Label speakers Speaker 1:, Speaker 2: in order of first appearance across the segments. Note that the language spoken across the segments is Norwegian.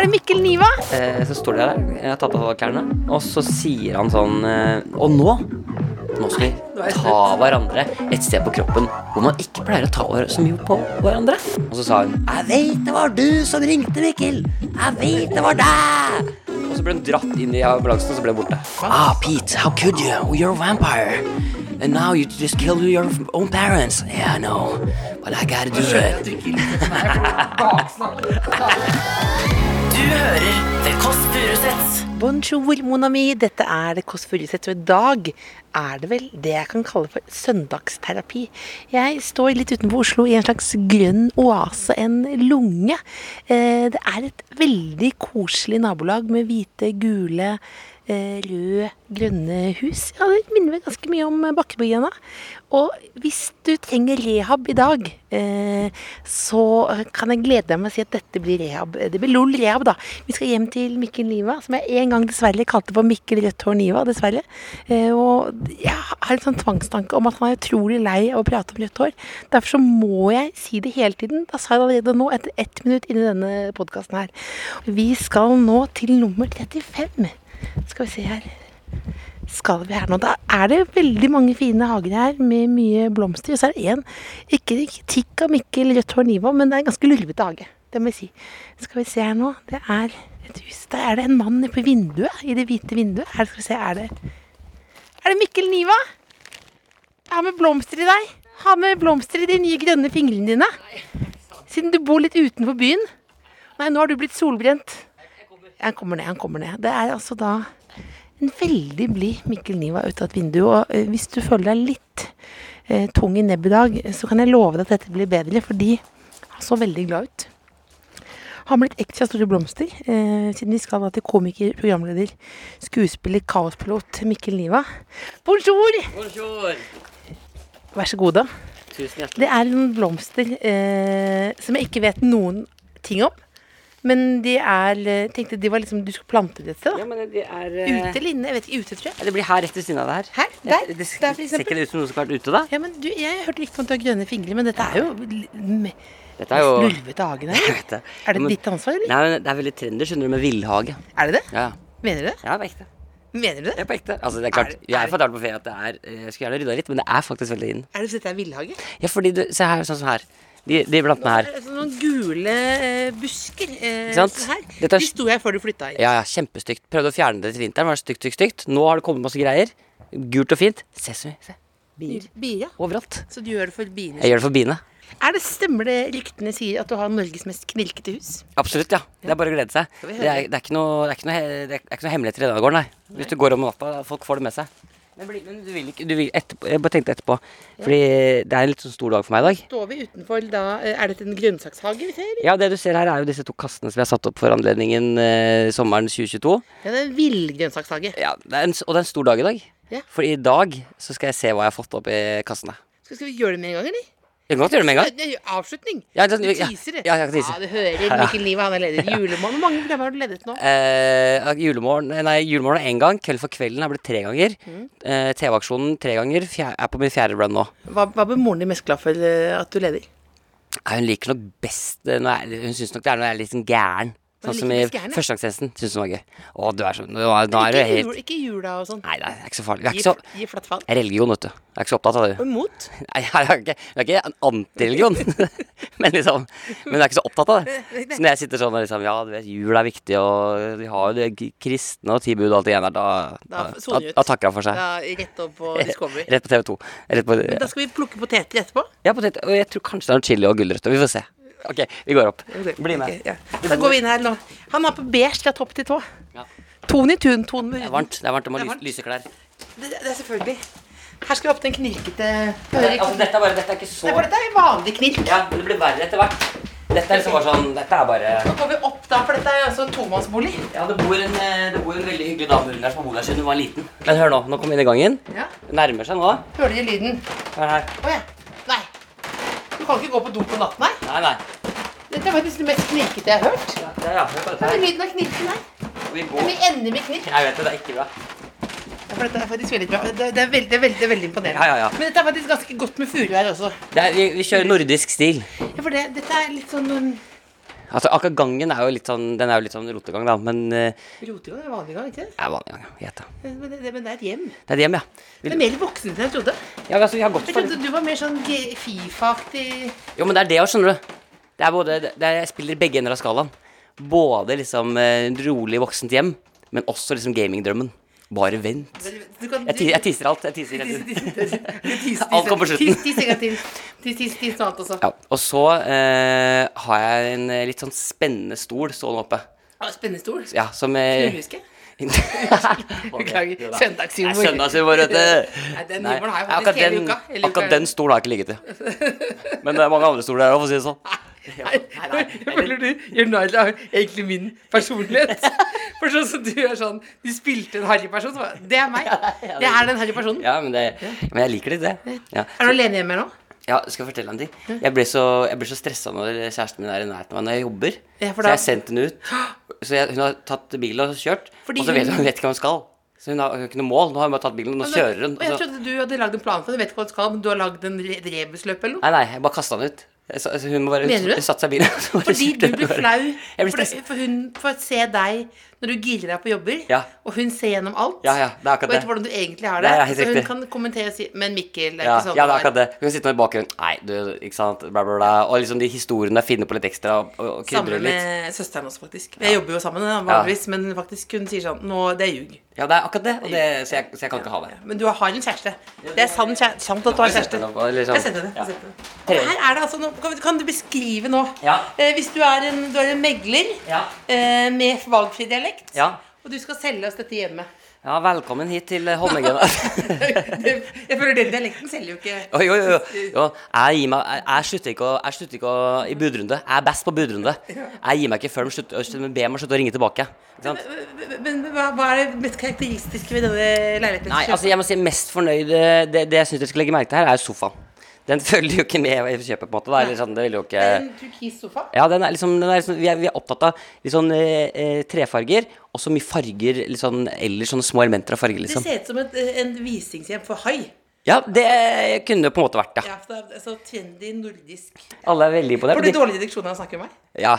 Speaker 1: Er det Mikkel Niva?
Speaker 2: Eh, Så står de der, jeg har tatt av klærne, og så sier han sånn eh, Og nå Nå skal vi ta hverandre et sted på kroppen hvor man ikke pleier å ta hver- så mye på hverandre. Og så sa hun Jeg vet det var du som ringte, Mikkel. Jeg vet det var deg. Og så ble hun dratt inn i ambulansen, og så ble hun borte. Ah, Pete, how could you? Oh, You're a vampire. And now you just killed your own parents. Yeah, I know. But I gotta do it.
Speaker 3: Du hører The Kåss Furuseths.
Speaker 1: Bonjour, mon ami. Dette er det Kåss Furuseth, og i dag er det vel det jeg kan kalle for søndagsterapi. Jeg står litt utenfor Oslo i en slags grønn oase, en lunge. Eh, Det er et veldig koselig nabolag med hvite, gule, eh, røde, grønne hus. Ja, det minner vel ganske mye om Bakkebygrenda. Og hvis du trenger rehab i dag, eh, så kan jeg glede deg med å si at dette blir rehab. Det blir LOL rehab, da. Vi skal hjem til Mikkel Niva, som jeg en gang dessverre kalte for Mikkel Rødt Hår Niva, dessverre. Eh, og jeg har en sånn tvangstanke om at han er utrolig lei av å prate om rødt hår. Derfor så må jeg si det hele tiden. Da sa jeg det allerede nå, etter ett minutt inn i denne podkasten her. Vi skal nå til nummer 35. Skal vi se her skal vi her nå. Da er det veldig mange fine hager her med mye blomster. Og så er det én, ikke kritikk av Mikkel Rødt Hår Niva, men det er en ganske lurvete hage. Det må jeg si. Skal vi se her nå. Det er et hus. Der er det en mann nede på vinduet, i det hvite vinduet. Her skal vi se, er det Er det Mikkel Niva? Jeg har med blomster i deg. Ha med blomster i de nye grønne fingrene dine. Siden du bor litt utenfor byen. Nei, nå har du blitt solbrent. Han kommer ned, han kommer ned. Det er altså da en veldig blid Mikkel Niva ut av et vindu. Og eh, hvis du føler deg litt eh, tung i nebbet i dag, så kan jeg love deg at dette blir bedre, fordi han så veldig glad ut. Har med litt ekstra store blomster, eh, siden vi skal da til komiker, programleder, skuespiller, kaospilot Mikkel Niva. Bonjour! Vær så god, da.
Speaker 2: Tusen hjertelig.
Speaker 1: Det er noen blomster eh, som jeg ikke vet noen ting om. Men de er eh, Tenkte de var liksom Du skulle plante det et sted? da?
Speaker 2: Ja, men det er eh,
Speaker 1: Ute eller inne? Jeg vet ikke. Ute, tror jeg.
Speaker 2: Det blir her rett ved siden av det her.
Speaker 1: Her? Der?
Speaker 2: Det, det ser
Speaker 1: Der,
Speaker 2: ser
Speaker 1: for
Speaker 2: ikke det
Speaker 1: eksempel?
Speaker 2: ut som noe som skal ha vært ute, da.
Speaker 1: Ja, men du, jeg hørte riktig om at du har grønne fingre, men dette er jo
Speaker 2: Dette er jo
Speaker 1: lulvete hagen her.
Speaker 2: Jeg vet det.
Speaker 1: Er det
Speaker 2: Men-
Speaker 1: ditt ansvar, eller?
Speaker 2: Nei, men Det er veldig trendy, skjønner du, med villhage.
Speaker 1: Er det det?
Speaker 2: Ja, ja.
Speaker 1: Mener du det?
Speaker 2: ja på ekte.
Speaker 1: Mener du det?
Speaker 2: Ja, på ekte. Altså, det er klart,
Speaker 1: Er-
Speaker 2: jeg
Speaker 1: er-
Speaker 2: er fortalt på ferie at det er eh, Jeg skulle gjerne rydda litt, men det er faktisk veldig inn.
Speaker 1: Er det så dette er villhage? Det
Speaker 2: Ja, fordi du, Se her, sånn som her. De, de plantene her.
Speaker 1: er sånn noen gule eh, busker eh,
Speaker 2: Ikke sant?
Speaker 1: sånn her.
Speaker 2: Dette er-
Speaker 1: De sto her før du flytta inn.
Speaker 2: Ja, ja, kjempestygt. Prøvde å fjerne det til vinteren, var det stygt, stygt, stygt. Nå har det kommet masse greier. Gult og fint. Se så mye. Se. Bier.
Speaker 1: Bier, ja.
Speaker 2: Overalt.
Speaker 1: Så du gjør det for biene?
Speaker 2: Jeg gjør det for biene.
Speaker 1: Er det stemmer det ryktene sier at du har Norges mest knirkete hus?
Speaker 2: Absolutt, ja. Det er bare å glede seg.
Speaker 1: vi
Speaker 2: Det
Speaker 1: høre?
Speaker 2: er, det er ikke noe, det er ikke noe, he- det er ikke noe hemmeligheter i denne gården, nei. Hvis du går om natta, folk får det med seg. Men, bli- men du vil ikke du vil, etterpå, Jeg bare tenkte etterpå. Fordi det er en litt sånn stor dag for meg i dag.
Speaker 1: Står vi utenfor da eh, Er dette en grønnsakshage vi ser?
Speaker 2: Ja, det du ser her, er jo disse to kassene som jeg har satt opp for anledningen eh, sommeren 2022.
Speaker 1: Ja, det er en villgrønnsakshage.
Speaker 2: Ja, det er en, s- Og det er en stor dag i dag.
Speaker 1: Ja.
Speaker 2: For i dag så skal jeg se hva jeg har fått opp i kassene.
Speaker 1: Skal, skal vi gjøre det med en gang, eller?
Speaker 2: Jeg kan godt gjøre det med en gang.
Speaker 1: Nei, nei, Avslutning.
Speaker 2: Ja, det- sånn-
Speaker 1: du
Speaker 2: ja,
Speaker 1: teaser, det.
Speaker 2: ja, jeg kan tease.
Speaker 1: du hører Mikkel Niva, han er leder. Julemann. Hvor mange programmer har du ledet nå?
Speaker 2: Eh, julemorgen Nei, julemorgen én gang. Kveld for kvelden er blitt tre ganger. Eh, TV-aksjonen tre ganger. Fjer, er på min fjerde brand nå.
Speaker 1: Hva, hva ble moren din mest glad for eh, at du leder?
Speaker 2: Nei, hun liker nok best eh, når jeg, Hun syns nok det er når jeg er litt sånn gæren.
Speaker 1: Hun
Speaker 2: Sånn som i
Speaker 1: liker best gæren, ja.
Speaker 2: førstegangstjenesten. Syns hun var gøy. Å, du er så Nå er, nå er du
Speaker 1: ikke, jul,
Speaker 2: helt
Speaker 1: ikke jula og sånn.
Speaker 2: Nei, nei, det er ikke så farlig. Jeg er
Speaker 1: Gi,
Speaker 2: ikke så
Speaker 1: gi flatt faen.
Speaker 2: jeg er religion, vet du. Jeg er ikke så opptatt av det.
Speaker 1: Og imot.
Speaker 2: Nei, jeg er ikke, jeg er ikke en antireligion. men liksom Men jeg er ikke så opptatt av det. Så når jeg sitter sånn og liksom Ja, du vet, jul er viktig, og vi har jo det k- kristne og ti bud og alt det igjen der, da, da,
Speaker 1: Da
Speaker 2: da,
Speaker 1: soner vi ut.
Speaker 2: da takker hun for seg.
Speaker 1: Da, rett opp på Discovery.
Speaker 2: Rett på TV 2. Rett på,
Speaker 1: Da skal vi plukke poteter etterpå.
Speaker 2: ja, på TV, og jeg tror kanskje det er noe chili og gulrøtter. Vi får se. OK, vi går opp. Bli med.
Speaker 1: Ok, ja. Da går vi inn her nå. Han har på beige fra topp til tå.
Speaker 2: Ja.
Speaker 1: Tone i tun, tone
Speaker 2: Det
Speaker 1: med
Speaker 2: er
Speaker 1: huden.
Speaker 2: varmt. det er varmt, Du må
Speaker 1: Det er
Speaker 2: lyse,
Speaker 1: varmt.
Speaker 2: lyse klær.
Speaker 1: Det, det er selvfølgelig. Her skal vi opp til en knirkete
Speaker 2: Nei,
Speaker 1: hører
Speaker 2: altså, dette er bare Dette er ikke
Speaker 1: Det
Speaker 2: så
Speaker 1: er bare- det er en vanlig knirk.
Speaker 2: Ja, men det blir verre etter hvert. Dette er liksom bare sånn Dette er bare
Speaker 1: Så går vi opp da, for dette er altså en tomannsbolig.
Speaker 2: Ja, det bor, en, eh, det bor en veldig hyggelig dame under der som har bodd her siden hun var liten. Men hør nå, nå kom vi inn i gangen.
Speaker 1: Ja.
Speaker 2: Det nærmer seg nå.
Speaker 1: Hører dere lyden?
Speaker 2: Hør her.
Speaker 1: Å ja. Nei. Du kan ikke gå på do på natten her.
Speaker 2: Nei, nei.
Speaker 1: Dette er faktisk det mest knirkete jeg har hørt.
Speaker 2: Ja, ja, ja, hør på dette
Speaker 1: Det er
Speaker 2: her.
Speaker 1: lyden av knirken her.
Speaker 2: Vi
Speaker 1: Men
Speaker 2: går.
Speaker 1: Vi ender med knirk.
Speaker 2: Jeg vet det, det er ikke bra.
Speaker 1: Ja, for dette er faktisk veldig bra. Det, det er veldig, det er veldig, det er veldig imponerende.
Speaker 2: Ja, ja, ja.
Speaker 1: Men dette er faktisk ganske godt med furuær også.
Speaker 2: Det er, vi, vi kjører nordisk stil.
Speaker 1: Ja, for det, dette er litt sånn um,
Speaker 2: Altså, akkurat gangen er jo litt sånn, den er jo litt sånn rotegang, da, men eh,
Speaker 1: rotegang, en vanlig gang, ikke
Speaker 2: det er vanlig gang, ja. Gjett, da.
Speaker 1: det? Men det, det, men det er et hjem.
Speaker 2: Det er et hjem, ja. Vi,
Speaker 1: Det er mer voksent enn jeg trodde.
Speaker 2: ja, altså, vi har gått
Speaker 1: Jeg
Speaker 2: for
Speaker 1: trodde du var mer sånn G- Fifa-aktig
Speaker 2: Jo, men det er det også, skjønner du. Det er både, det er, jeg spiller begge ender av skalaen. Både liksom eh, rolig voksent hjem, men også liksom gamingdrømmen. Bare vent.
Speaker 1: Du kan-
Speaker 2: Jeg, ti, jeg teaser alt. jeg teaser
Speaker 1: Tis-
Speaker 2: helt.
Speaker 1: tis- tis- tis- tis-
Speaker 2: Alt kommer på slutten.
Speaker 1: Tis, tis en gang til. Tis, tis, tis noe annet også.
Speaker 2: Ja, og så eh, har jeg en eh, litt sånn spennende stol stående oppe.
Speaker 1: Ah, Spennende stol.
Speaker 2: Ja, som eh,
Speaker 1: Husker jeg.
Speaker 2: Beklager.
Speaker 1: Beklager. Søndagshumor.
Speaker 2: Søndagshumor, vet du.
Speaker 1: Nei, den
Speaker 2: Nei,
Speaker 1: humoren har jeg
Speaker 2: akkurat
Speaker 1: faktisk hele
Speaker 2: den-
Speaker 1: uka. Hele uka.
Speaker 2: Akkurat den stolen har jeg ikke ligget i. Men det er mange andre stoler her òg, for å si det sånn.
Speaker 1: Nei, Jeg føler du gjør narr av egentlig min personlighet. For sånn som du er sånn Du spilte en harry person. så var Det det er meg. Det er den harry personen.
Speaker 2: Ja, men, det, men jeg liker litt det. Ja.
Speaker 1: Er du alene hjemme her nå?
Speaker 2: Ja, skal jeg fortelle deg en ting? Jeg ble så, jeg ble så stressa når kjæresten min er i nærheten av meg når jeg jobber.
Speaker 1: Ja, for
Speaker 2: så
Speaker 1: da-
Speaker 2: jeg har sendt henne ut. Så jeg, hun har tatt bilen og kjørt.
Speaker 1: Fordi
Speaker 2: og så vet
Speaker 1: hun-
Speaker 2: hun, hun vet ikke hva hun skal. Så hun har hun har ikke noe mål. Nå har hun bare tatt bilen, og nå kjører hun. altså.
Speaker 1: Og jeg
Speaker 2: Så,
Speaker 1: trodde du hadde lagd en plan for det. Du vet ikke hva du skal, men du har lagd en re- et rebusløp eller noe.
Speaker 2: nei, nei, jeg bare kasta den ut. Jeg, sa- altså, hun må bare
Speaker 1: Mener du det?
Speaker 2: hun satte seg i bilen. og så bare
Speaker 1: Fordi
Speaker 2: kjørte
Speaker 1: du
Speaker 2: hun
Speaker 1: blir
Speaker 2: bare.
Speaker 1: flau
Speaker 2: Jeg blir
Speaker 1: for,
Speaker 2: stresset.
Speaker 1: for hun får se deg når du girer deg på jobber,
Speaker 2: Ja.
Speaker 1: og hun ser gjennom alt.
Speaker 2: Ja, ja, det er akkurat
Speaker 1: og vet
Speaker 2: det.
Speaker 1: hvordan du egentlig har
Speaker 2: Det
Speaker 1: det.
Speaker 2: er helt
Speaker 1: så hun
Speaker 2: riktig.
Speaker 1: kan kommentere og si Men Mikkel, det er
Speaker 2: Ja,
Speaker 1: ikke
Speaker 2: ja, det er
Speaker 1: sånn det var.»
Speaker 2: akkurat det. Hun sitter nå i bakgrunnen. Nei, du, ikke sant. Bla, bla, bla. Og liksom de historiene jeg finner på litt ekstra. Og, og krydrer
Speaker 1: Sammen
Speaker 2: litt.
Speaker 1: med søsteren også, faktisk. Jeg jobber jo sammen, da, vanligvis, men faktisk hun sier sånn Nå, det er ljug.
Speaker 2: Ja, det er akkurat det. Og det så, jeg, så jeg kan ikke ha det.
Speaker 1: Men du har en kjæreste. Det er sann kjæreste. Sant at du har
Speaker 2: Jeg setter
Speaker 1: kjæreste.
Speaker 2: den opp, og liksom-
Speaker 1: Jeg setter det.
Speaker 2: Ja.
Speaker 1: Jeg setter det. Og her er det altså noe, kan, kan du beskrive nå?
Speaker 2: Ja.
Speaker 1: Eh, hvis du er en, du er en megler
Speaker 2: Ja.
Speaker 1: eh, med valgfri dialekt,
Speaker 2: Ja.
Speaker 1: og du skal selge oss dette hjemmet
Speaker 2: ja, velkommen hit til eh, Holmengrenda.
Speaker 1: Det- Jeg føler den dialekten selger jo ikke
Speaker 2: Oi, oi, oi. Jo, jeg, gir meg, jeg, jeg slutter ikke, å, jeg slutter ikke å, i budrunde. Jeg er best på budrunde. Jeg gir meg ikke før de slutter, øh, ber meg slutte å ringe tilbake. Ikke sant?
Speaker 1: Men- Men hva, hva er det mest karakteristiske ved denne leiligheten?
Speaker 2: Nei, altså jeg må si mest fornøyd eh, Det, det jeg syns dere skal legge merke til her, er sofaen. Den følger jo ikke med i kjøpet, på en måte. Da. Eller sånn, det vil jo ikke...
Speaker 1: En turkis sofa?
Speaker 2: Ja, den er liksom, den er liksom vi, er, vi er opptatt av litt sånn eh, eh, trefarger, og så mye farger litt sånn, eller sånne små elementer av farger,
Speaker 1: Det
Speaker 2: liksom.
Speaker 1: ser ut som et en visningshjem for hai.
Speaker 2: Ja, det kunne det på en måte vært, ja.
Speaker 1: Ja, for det er altså trendy nordisk.
Speaker 2: Alle er veldig
Speaker 1: Får du
Speaker 2: imponert.
Speaker 1: dårlig deduksjon av å snakke med meg?
Speaker 2: Ja.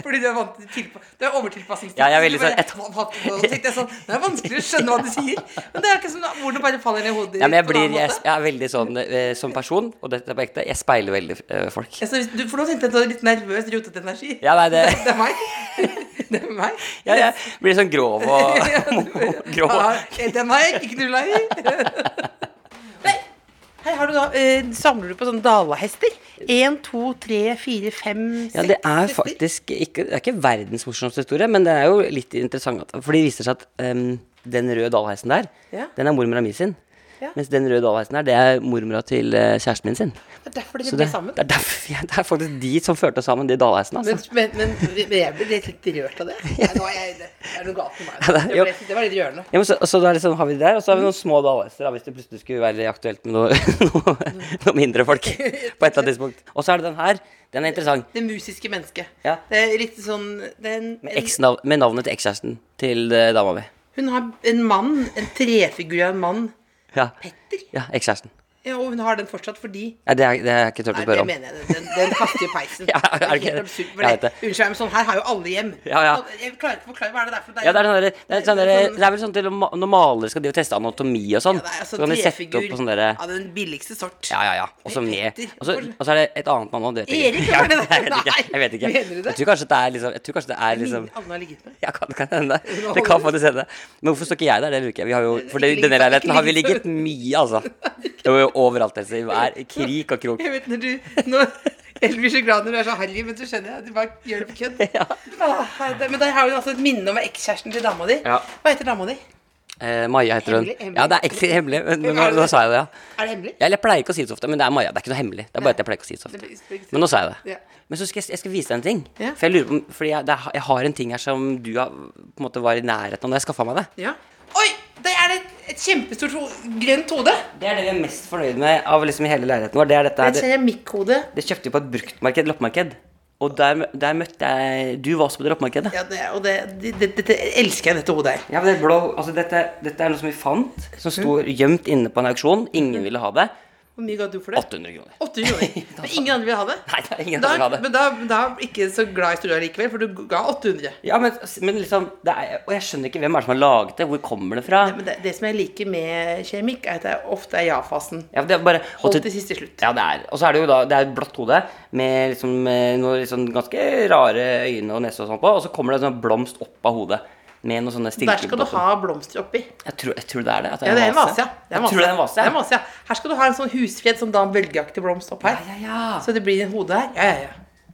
Speaker 1: Fordi du er vant til tilpa Du er overtilpassingstid.
Speaker 2: Ja, jeg er veldig
Speaker 1: Du
Speaker 2: sånn-
Speaker 1: bare-
Speaker 2: et-
Speaker 1: hva- hva- hva- tenkte jeg sånn, Det er vanskelig å skjønne hva du sier. Men det er ikke som ordene bare faller ned i hodet ditt.
Speaker 2: Ja, men jeg
Speaker 1: på en annen
Speaker 2: blir jeg,
Speaker 1: måte.
Speaker 2: jeg er veldig sånn eh, som person, og dette er på ekte, jeg speiler veldig eh, folk.
Speaker 1: Ja, så hvis du, for nå tenkte jeg at du hadde litt nervøs, rotete energi.
Speaker 2: Ja, nei, det
Speaker 1: Det er meg. Det er meg.
Speaker 2: ja, Jeg blir sånn grov og grov. og-
Speaker 1: Ja, den har jeg ikke knulla i. Nei, Her har du da, eh, samler du på sånne dalahester? Én, to, tre, fire, fem, seks
Speaker 2: Ja, det er
Speaker 1: hester.
Speaker 2: faktisk ikke, det er ikke verdens morsomste historie, men det er jo litt interessant. At, for det viser seg at em, den røde dalhesten der,
Speaker 1: Ja.
Speaker 2: den er mormora mi sin.
Speaker 1: Ja.
Speaker 2: Mens den røde dalhesten der, det er mormora til eh, kjæresten min sin.
Speaker 1: Det er derfor
Speaker 2: Så
Speaker 1: dere ble
Speaker 2: det,
Speaker 1: sammen.
Speaker 2: det, er derfor, ja, det er faktisk de som førte oss sammen, de dalhestene.
Speaker 1: Men,
Speaker 2: Altså.
Speaker 1: men, men, men jeg ble litt, litt rørt av det. Nei, nå er jeg, det er noe galt med meg.
Speaker 2: Ja, det-
Speaker 1: Det, ble, det var litt rørende.
Speaker 2: Ja, men så, så da er det sånn, har vi det der, og så har vi noen små dalhester, da, hvis det plutselig skulle være aktuelt med noe, noe, noe mindre folk på et eller annet tidspunkt. Og så er det den her. Den er interessant.
Speaker 1: Det musiske mennesket.
Speaker 2: Ja.
Speaker 1: Det er litt sånn det er en,
Speaker 2: Med,
Speaker 1: en,
Speaker 2: eksnav, med navnet til ekskjæresten til eh, dama mi.
Speaker 1: Hun har en mann, en trefigur av en mann,
Speaker 2: Ja,
Speaker 1: Petter.
Speaker 2: ja ekskjæresten.
Speaker 1: Ja, og hun har den fortsatt fordi
Speaker 2: Nei, det, er- det har jeg ikke turt å
Speaker 1: Nei, det
Speaker 2: spørre om.
Speaker 1: mener jeg. Den, den kaster i peisen.
Speaker 2: Ja, er det
Speaker 1: er
Speaker 2: ikke
Speaker 1: helt
Speaker 2: det?
Speaker 1: absurd.
Speaker 2: Jeg vet
Speaker 1: For det,
Speaker 2: det.
Speaker 1: unnskyld, meg, men sånn her har jo alle hjem.
Speaker 2: Ja, ja.
Speaker 1: Jeg klarer ikke å forklare hva er det der for deg.
Speaker 2: Ja, det er, sånn der, det, er sånn der, det er vel sånn til å ma- når malere skal drive og teste anatomi og sånn,
Speaker 1: Ja, det er altså
Speaker 2: så kan de sette
Speaker 1: trefigur
Speaker 2: opp på sånn derre
Speaker 1: Av den billigste sort.
Speaker 2: Ja, ja, ja. Og så med
Speaker 1: Petter.
Speaker 2: Og så og så er det et annet navn, og det vet jeg
Speaker 1: Erik, hva er det
Speaker 2: Jeg
Speaker 1: der?
Speaker 2: vet ikke. Jeg vet ikke.
Speaker 1: Nei, mener du det?
Speaker 2: Jeg tror kanskje det er liksom Jeg tror kanskje det er liksom
Speaker 1: Alle har ligget med.
Speaker 2: ja, kan, kan hende. Det kan faktisk hende. Men hvorfor står ikke jeg der? Det lurer ikke jeg. Vi har jo, for det,
Speaker 1: Ikke ligget-
Speaker 2: denne leiligheten har vi
Speaker 1: ikke ligget-
Speaker 2: ligget mye, altså. Det var jo overalt. Altså. I hver krik og krok.
Speaker 1: Jeg vet når du nå, Jeg blir så glad når du er så harry, men så skjønner jeg at du bare gjør det på kødd. Åh, det- Men der har du altså et minne om ekskjæresten til dama di.
Speaker 2: Ja.
Speaker 1: Hva heter dama di?
Speaker 2: Eh, Maja heter hun.
Speaker 1: Hemmelig, hemmelig.
Speaker 2: Ja, det er ekstremt hemmelig. Men, men,
Speaker 1: Hvem er det?
Speaker 2: nå sa jeg det, ja.
Speaker 1: Er det hemmelig?
Speaker 2: Jeg pleier ikke å si det så ofte, men det er Maja. Det er ikke noe hemmelig. Det er bare at jeg pleier ikke å si det så
Speaker 1: Det blir- det
Speaker 2: ofte.
Speaker 1: blir-
Speaker 2: Men nå sa jeg
Speaker 1: Ja.
Speaker 2: det. Men så skal jeg, jeg skal vise deg en ting.
Speaker 1: Ja.
Speaker 2: For jeg lurer på om- Fordi jeg, det er, jeg har en ting her som du har, på en måte var i nærheten av da jeg skaffa meg det.
Speaker 1: Ja. Oi! Der er det et, et kjempestort ho grønt hode.
Speaker 2: Det er det vi er mest fornøyd med av liksom hele leiligheten vår. Det er dette her.
Speaker 1: Et
Speaker 2: Det,
Speaker 1: keramikkhode.
Speaker 2: det kjøpte vi på et bruktmarked, loppemarked. Og der, der møtte jeg Du var også på det loppemarkedet.
Speaker 1: Ja, det, er- og det, det, det, dette elsker jeg, dette hodet her.
Speaker 2: Ja, men det blå, altså dette, dette er noe som vi fant, som sto
Speaker 1: Mm.
Speaker 2: gjemt inne på en auksjon. Ingen ville ha det.
Speaker 1: Hvor mye ga du for det?
Speaker 2: 800 kroner.
Speaker 1: 800 kroner. Men ingen andre vil ha det?
Speaker 2: Nei, det er ingen
Speaker 1: Da,
Speaker 2: som vil ha det.
Speaker 1: men da, da er jeg ikke så glad i stua likevel, for du ga 800.
Speaker 2: Ja, men, men liksom det er, Og jeg skjønner ikke hvem er det som har laget det. Hvor kommer det fra?
Speaker 1: Nei, men det, det som jeg liker med keramikk, er at det er- ofte er ja-fasen.
Speaker 2: Ja, det er bare og
Speaker 1: Hold
Speaker 2: til-
Speaker 1: til siste slutt.
Speaker 2: Ja, det er Og så er det jo da Det er et blått hode med liksom eh, noen liksom ganske rare øyne og nese og sånn på, og så kommer det en sånn blomst opp av hodet. Med noen sånne stilker
Speaker 1: Der skal du
Speaker 2: på toppen.
Speaker 1: ha blomster oppi.
Speaker 2: jeg tror, jeg tror det er det. At
Speaker 1: Ja, det er en vase, ja. Det er
Speaker 2: Jeg tror det er en vase.
Speaker 1: Det er en vase, ja. Her skal du ha en sånn husfred, sånn Dan Bølge-aktig blomst opp her.
Speaker 2: Ja, ja.
Speaker 1: Så det blir en hode her. Ja, ja,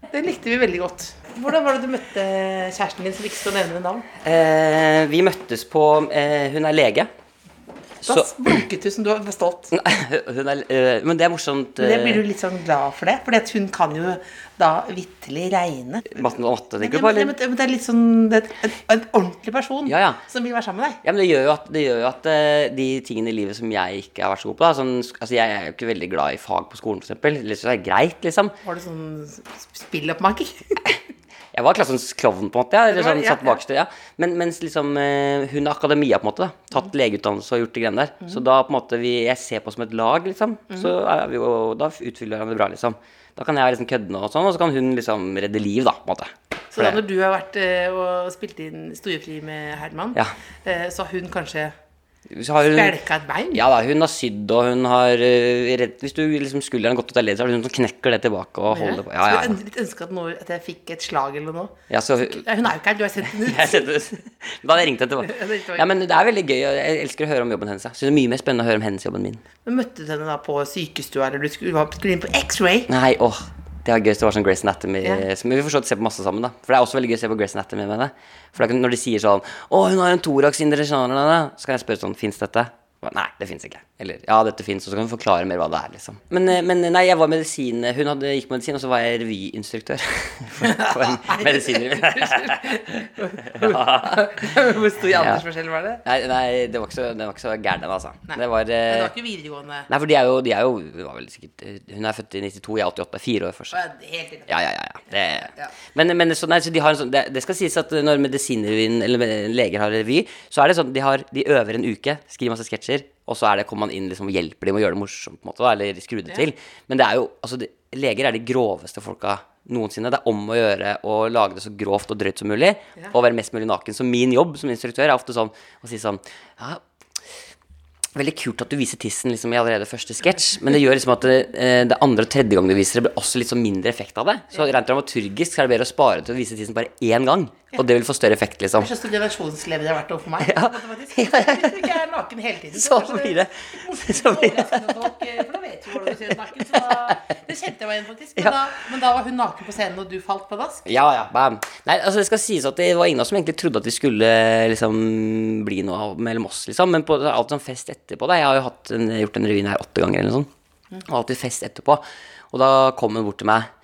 Speaker 1: ja. Det likte vi veldig godt. Hvordan var det du møtte kjæresten din, som ikke skal nevne navn?
Speaker 2: Eh, vi møttes på eh, Hun er lege.
Speaker 1: Da
Speaker 2: Så
Speaker 1: blunket du som du var stolt.
Speaker 2: Nei, hun er, eh, Men det er morsomt.
Speaker 1: Men det blir
Speaker 2: eh,
Speaker 1: du litt sånn glad for det, for hun kan jo da vitterlig regne.
Speaker 2: Matte, matte,
Speaker 1: Men
Speaker 2: tenker
Speaker 1: det,
Speaker 2: du på, eller?
Speaker 1: men det, men det er litt sånn det er en, en ordentlig person
Speaker 2: Ja, ja.
Speaker 1: som vil være sammen med deg.
Speaker 2: Ja, men det gjør jo at, det gjør jo at eh, de tingene i livet som jeg ikke har vært så god på da, sånn, sk- altså Jeg er jo ikke veldig glad i fag på skolen, for eksempel. Litt sånn, det er greit, liksom.
Speaker 1: Var du sånn sp- spilloppmaker?
Speaker 2: Jeg var klassens klovn, på en måte. Ja, eller
Speaker 1: var-
Speaker 2: sånn,
Speaker 1: ja,
Speaker 2: satt
Speaker 1: ja.
Speaker 2: bakerst, ja. Men mens liksom, eh, hun har akademia, på en måte. da,
Speaker 1: Mhm.
Speaker 2: Tatt legeutdannelse og gjort de greiene der. Så da på en måte vi, jeg ser på som et lag, liksom.
Speaker 1: Mhm.
Speaker 2: Så er vi jo, da utfyller vi hverandre bra, liksom. Da kan jeg være liksom kødden og sånn, og så kan hun liksom redde liv, da, på en måte.
Speaker 1: Så da
Speaker 2: For det-
Speaker 1: når du har vært eh, og spilt inn Storefri med Herman,
Speaker 2: Ja.
Speaker 1: eh, så har hun kanskje
Speaker 2: så har hun-
Speaker 1: velka et bein?
Speaker 2: Ja da, hun har sydd og hun har eh, redd, Hvis du liksom skulderen har gått ut av ledd, så er det hun som knekker det tilbake og holder på. Ja,
Speaker 1: Skulle
Speaker 2: ja,
Speaker 1: jeg
Speaker 2: ja.
Speaker 1: ønske- litt ønske at, nå- at jeg fikk et slag eller noe.
Speaker 2: ja så,
Speaker 1: Ja, Hun er jo ikke her, du har sendt henne
Speaker 2: jeg
Speaker 1: ut.
Speaker 2: setter, da hadde jeg ringt henne
Speaker 1: Ja, det er ikke
Speaker 2: tilbake.
Speaker 1: bra.
Speaker 2: Ja, men det er veldig gøy. og Jeg elsker å høre om jobben hennes. Jeg synes det er mye mer spennende å høre om hennes jobb enn min.
Speaker 1: Men møtte du henne da på sykestua, eller du skulle, var- skulle inn på X-ray?
Speaker 2: Nei, åh. Det var gøy hvis det var sånn Grace Anatomy.
Speaker 1: Ja.
Speaker 2: som- Vi får så vidt se på masse sammen, da. For det er også veldig gøy å se på Grace Anatomy med henne. For da kan- når de sier sånn Å, hun har en thorax indre genre, Så kan jeg spørre sånn Fins dette? Og, Nei, det fins ikke. Eller ja, dette fins, og så kan hun forklare mer hva det er, liksom. Men, eh, men nei, jeg var medisin eh, Hun hadde, gikk medisin, og så var jeg revyinstruktør. På en medisinrevy.
Speaker 1: Hvor stor aldersforskjell var det?
Speaker 2: Nei, nei, det var ikke så, det var ikke så gæren, den, altså.
Speaker 1: Nei.
Speaker 2: Det var
Speaker 1: Nei,
Speaker 2: eh,
Speaker 1: Det var ikke videregående.
Speaker 2: Nei, for de er jo, de er jo hun, var vel sikkert, eh, hun er født i 92, jeg er 88. Fire år forskjell.
Speaker 1: Helt innenfor.
Speaker 2: Ja, ja, ja. ja. Det,
Speaker 1: Ja.
Speaker 2: Men, men så, nei, så de har en sånn, det, det skal sies at når medisinrevyen, eller med- leger har revy, så er det sånn de, har, de øver en uke, skriver masse sketsjer, og så er det, kommer man inn liksom, og hjelper dem å gjøre det morsomt, på en måte, da, eller skru det til. Men det er jo, altså, de, leger er de groveste folka noensinne. Det er om å gjøre å lage det så grovt og drøyt som mulig, og være mest mulig naken. Så min jobb som instruktør er ofte sånn å si sånn ja, Veldig kult at du viser tissen liksom, i allerede første sketsj, men det gjør liksom at det, eh, det andre og tredje gang du viser det, blir også litt sånn mindre effekt av det. Så rent dramaturgisk så er det bedre å spare til å vise tissen bare én gang, og det vil få større effekt, liksom.
Speaker 1: Det er så generasjonslevet det har vært overfor meg.
Speaker 2: Ja.
Speaker 1: Matematisk. Jeg er naken hele tiden.
Speaker 2: Så blir det så blir det
Speaker 1: Overraskende nok, eh, For da vet du hvordan du ser ut naken. Så da, det kjente jeg meg igjen, faktisk. Men,
Speaker 2: Ja.
Speaker 1: da, men da var hun naken på scenen, og du falt pladask.
Speaker 2: Ja, ja, bam. Nei, altså det skal sies at det var ingen av oss som egentlig trodde at vi skulle liksom bli noe av- mellom oss, liksom. Men på det er alltid sånn fest etterpå, da. Jeg har jo hatt en, gjort den revyen her åtte ganger eller noe sånt. Og alltid fest etterpå. Og da kom hun bort til meg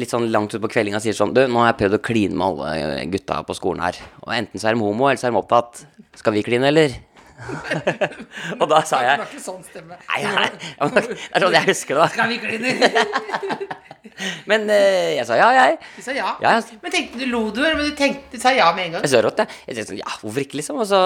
Speaker 2: litt sånn langt ut på kveldinga og sier sånn Du, nå har jeg prøvd å kline med alle gutta på skolen her. Og enten så er de homo, eller så er de opptatt. Skal vi kline, eller? og da sa
Speaker 1: Det
Speaker 2: jeg
Speaker 1: var ikke sånn stemme.
Speaker 2: Nei, nei. Det er sånn jeg husker det, da.
Speaker 1: Kan vi kline?
Speaker 2: Men eh, jeg sa ja, jeg.
Speaker 1: Du sa ja.
Speaker 2: Ja, jeg-
Speaker 1: Men tenkte du lo du, eller men du, tenkte, du sa ja med en gang?
Speaker 2: Jeg så rått, jeg. Jeg tenkte sånn, ja, hvorfor ikke, liksom? Og så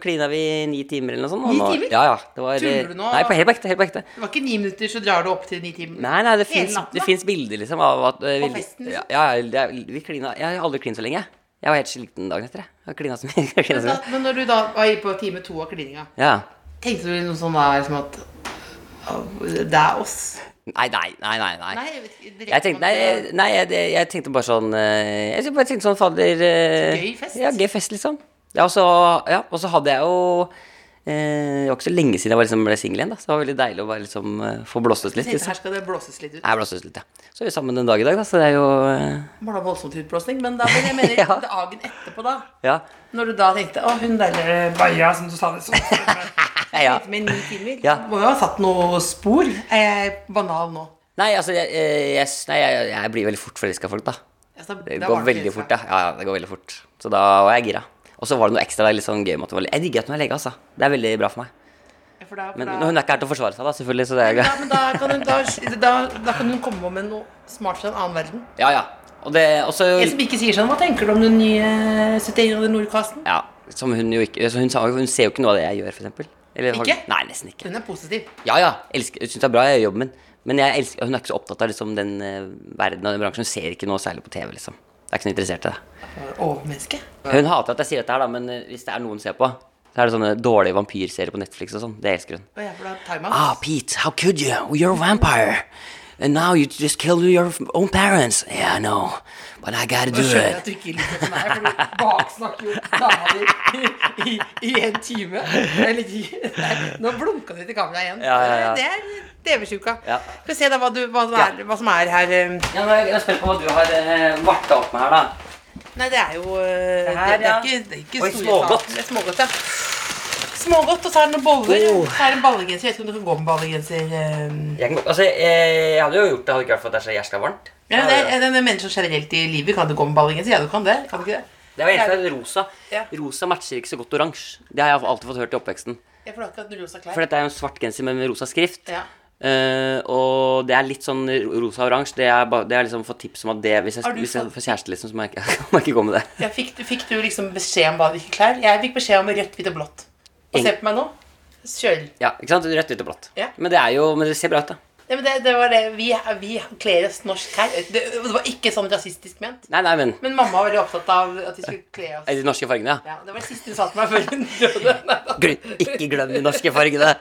Speaker 2: klina vi i ni timer eller noe sånt. og
Speaker 1: Ni
Speaker 2: nå-
Speaker 1: timer?
Speaker 2: Ja, ja. Det var,
Speaker 1: Tuller du nå?
Speaker 2: Nei, på helt på ekte. Helt på ekte.
Speaker 1: Det var ikke ni minutter, så drar du opp til ni timer.
Speaker 2: Nei, nei, det
Speaker 1: Hele
Speaker 2: fins-
Speaker 1: natten,
Speaker 2: det
Speaker 1: da?
Speaker 2: fins bilder, liksom, av at eh,
Speaker 1: På
Speaker 2: vi-
Speaker 1: festen, liksom?
Speaker 2: Ja, ja, det er- vi klina Jeg har aldri klint så lenge. jeg. Jeg var helt sliten dagen etter, jeg. jeg. Klina så mye. jeg klinet så
Speaker 1: Da,
Speaker 2: mye.
Speaker 1: men når du da var på time to av klininga,
Speaker 2: Ja.
Speaker 1: tenkte du noe sånn da liksom at «Å, Det er oss.
Speaker 2: Nei, nei, nei, nei. nei.
Speaker 1: Nei, jeg vet ikke.
Speaker 2: Jeg tenkte, nei, nei jeg, jeg, jeg tenkte bare sånn eh, Jeg bare tenkte sånn, fader eh,
Speaker 1: Gøy fest.
Speaker 2: Ja, gøy fest, liksom. Ja, og så ja, og så hadde jeg jo eh, Det var ikke så lenge siden jeg var liksom ble singel igjen. da Så det var veldig deilig å bare liksom eh, få blåst ut litt.
Speaker 1: Her
Speaker 2: Liksom.
Speaker 1: skal det blåses litt ut.
Speaker 2: Jeg blåste ut litt, ja. Så er vi sammen en dag i dag, da. Så det er jo eh,
Speaker 1: Bare voldsomt utblåsning, men da men jeg mener
Speaker 2: Ja.
Speaker 1: dagen etterpå, da.
Speaker 2: Ja.
Speaker 1: Når du da tenkte 'Å, hun derre Baja', som du sa det så
Speaker 2: ja.
Speaker 1: Med ni timer.
Speaker 2: Ja.
Speaker 1: Må jo ha satt noe spor. Er jeg banal nå?
Speaker 2: Nei, altså, jeg, eh, jeg, s- nei, jeg, jeg blir veldig fort forelska i folk, da.
Speaker 1: Altså,
Speaker 2: Det
Speaker 1: da var
Speaker 2: går
Speaker 1: det
Speaker 2: veldig fort,
Speaker 1: forelska.
Speaker 2: ja. ja. ja, Det går veldig fort. Så da var jeg gira. Og så var det noe ekstra der, litt sånn gøy med at hun var Jeg digger at hun er lege, altså. Det er veldig bra for meg.
Speaker 1: Ja, For da, for
Speaker 2: Men
Speaker 1: da,
Speaker 2: hun er ikke her til å forsvare seg, da, selvfølgelig, så det er
Speaker 1: ja,
Speaker 2: greit.
Speaker 1: men da, kan hun, da, da, da kan hun komme med noe smart fra en annen verden.
Speaker 2: Ja, ja. Og det og så-
Speaker 1: En som ikke sier sånn 'Hva tenker du om den nye 71 grader nordkasten?'
Speaker 2: Ja, som hun jo ikke så hun, sa- hun ser jo ikke noe av det jeg gjør, for eksempel. Eller har-
Speaker 1: Ikke?
Speaker 2: Nei, nesten ikke.
Speaker 1: Hun er positiv.
Speaker 2: Ja, ja. elsker- Hun syns det er bra jeg gjør jobben min. Men jeg elsker, hun er ikke så opptatt av liksom, den eh, verden og den bransjen. Hun ser ikke noe særlig på TV, liksom. Det er ikke noe interessert i det.
Speaker 1: Overmenneske.
Speaker 2: Hun hater at jeg sier dette her, da, men eh, hvis det er noen ser på, så er det sånne dårlige vampyrserier på Netflix og sånn. Det elsker hun.
Speaker 1: Og jeg får da time out.
Speaker 2: Ah, Pete, how could you? You're a vampire. And now you just killed your own parents. Yeah, I know. But I gotta do
Speaker 1: Da skjønner jeg
Speaker 2: it.
Speaker 1: at du ikke liker det som er, for du baksnakker jo dama di i, i, i en time. Eller, i- nei, nå blunka du til kameraet igjen.
Speaker 2: Ja, ja, ja.
Speaker 1: Det er TV-sjuka.
Speaker 2: Ja.
Speaker 1: Skal vi se da hva, du, hva, som er, hva som er her eh.
Speaker 2: Ja, nå er jeg spent på hva du har eh, varta opp med her, da.
Speaker 1: Nei, det er jo eh,
Speaker 2: Det her,
Speaker 1: det, det
Speaker 2: ja.
Speaker 1: er ikke, det er ikke
Speaker 2: Oi,
Speaker 1: store
Speaker 2: smågodt.
Speaker 1: saker. Det er smågodt, ja. Smågodt, og så er det noen boller.
Speaker 2: Oh.
Speaker 1: Så er det en ballegenser. Jeg vet ikke om du kan gå med ballegenser. eh.
Speaker 2: Jeg, kan, altså, jeg, jeg hadde jo gjort det, hadde ikke vært for at det er så jæskla varmt.
Speaker 1: Ja, det er, det er mennesker generelt i livet. Kan du gå med ballegenser? Ja, du kan det. Kan du ikke det?
Speaker 2: Det var eneste det er rosa.
Speaker 1: Ja.
Speaker 2: Rosa matcher ikke så godt oransje. Det har jeg alltid fått hørt i oppveksten.
Speaker 1: Jeg får akkurat rosa klær.
Speaker 2: For dette er jo en svart genser med med rosa skrift.
Speaker 1: Ja.
Speaker 2: Eh, og det er litt sånn ro- rosa og oransje. Det er ba- det har jeg liksom fått tips om at det Hvis jeg,
Speaker 1: Har du
Speaker 2: hvis jeg
Speaker 1: fått-
Speaker 2: får kjæreste, liksom, så må jeg, ikke- må jeg ikke gå med det.
Speaker 1: Ja, fikk, fikk du liksom beskjed om hva du ikke klær? Jeg fikk beskjed om rødt, hvitt og blått. Og se
Speaker 2: Ingen-
Speaker 1: på meg nå. Kjøl.
Speaker 2: Ja, ikke sant? Rødt, hvitt og blått.
Speaker 1: Ja.
Speaker 2: Men det er jo Men det ser bra ut, da.
Speaker 1: Ja, men det, det var det. Vi, vi kler oss norsk her. Det, det var ikke sånn rasistisk ment.
Speaker 2: Nei, nei, men
Speaker 1: Men mamma var veldig opptatt av at vi skulle kle
Speaker 2: Nei,
Speaker 1: oss.
Speaker 2: De norske fargene, ja.
Speaker 1: Ja, det var det siste hun sa til meg før hun døde. Neida.
Speaker 2: Gl ikke glem de norske fargene.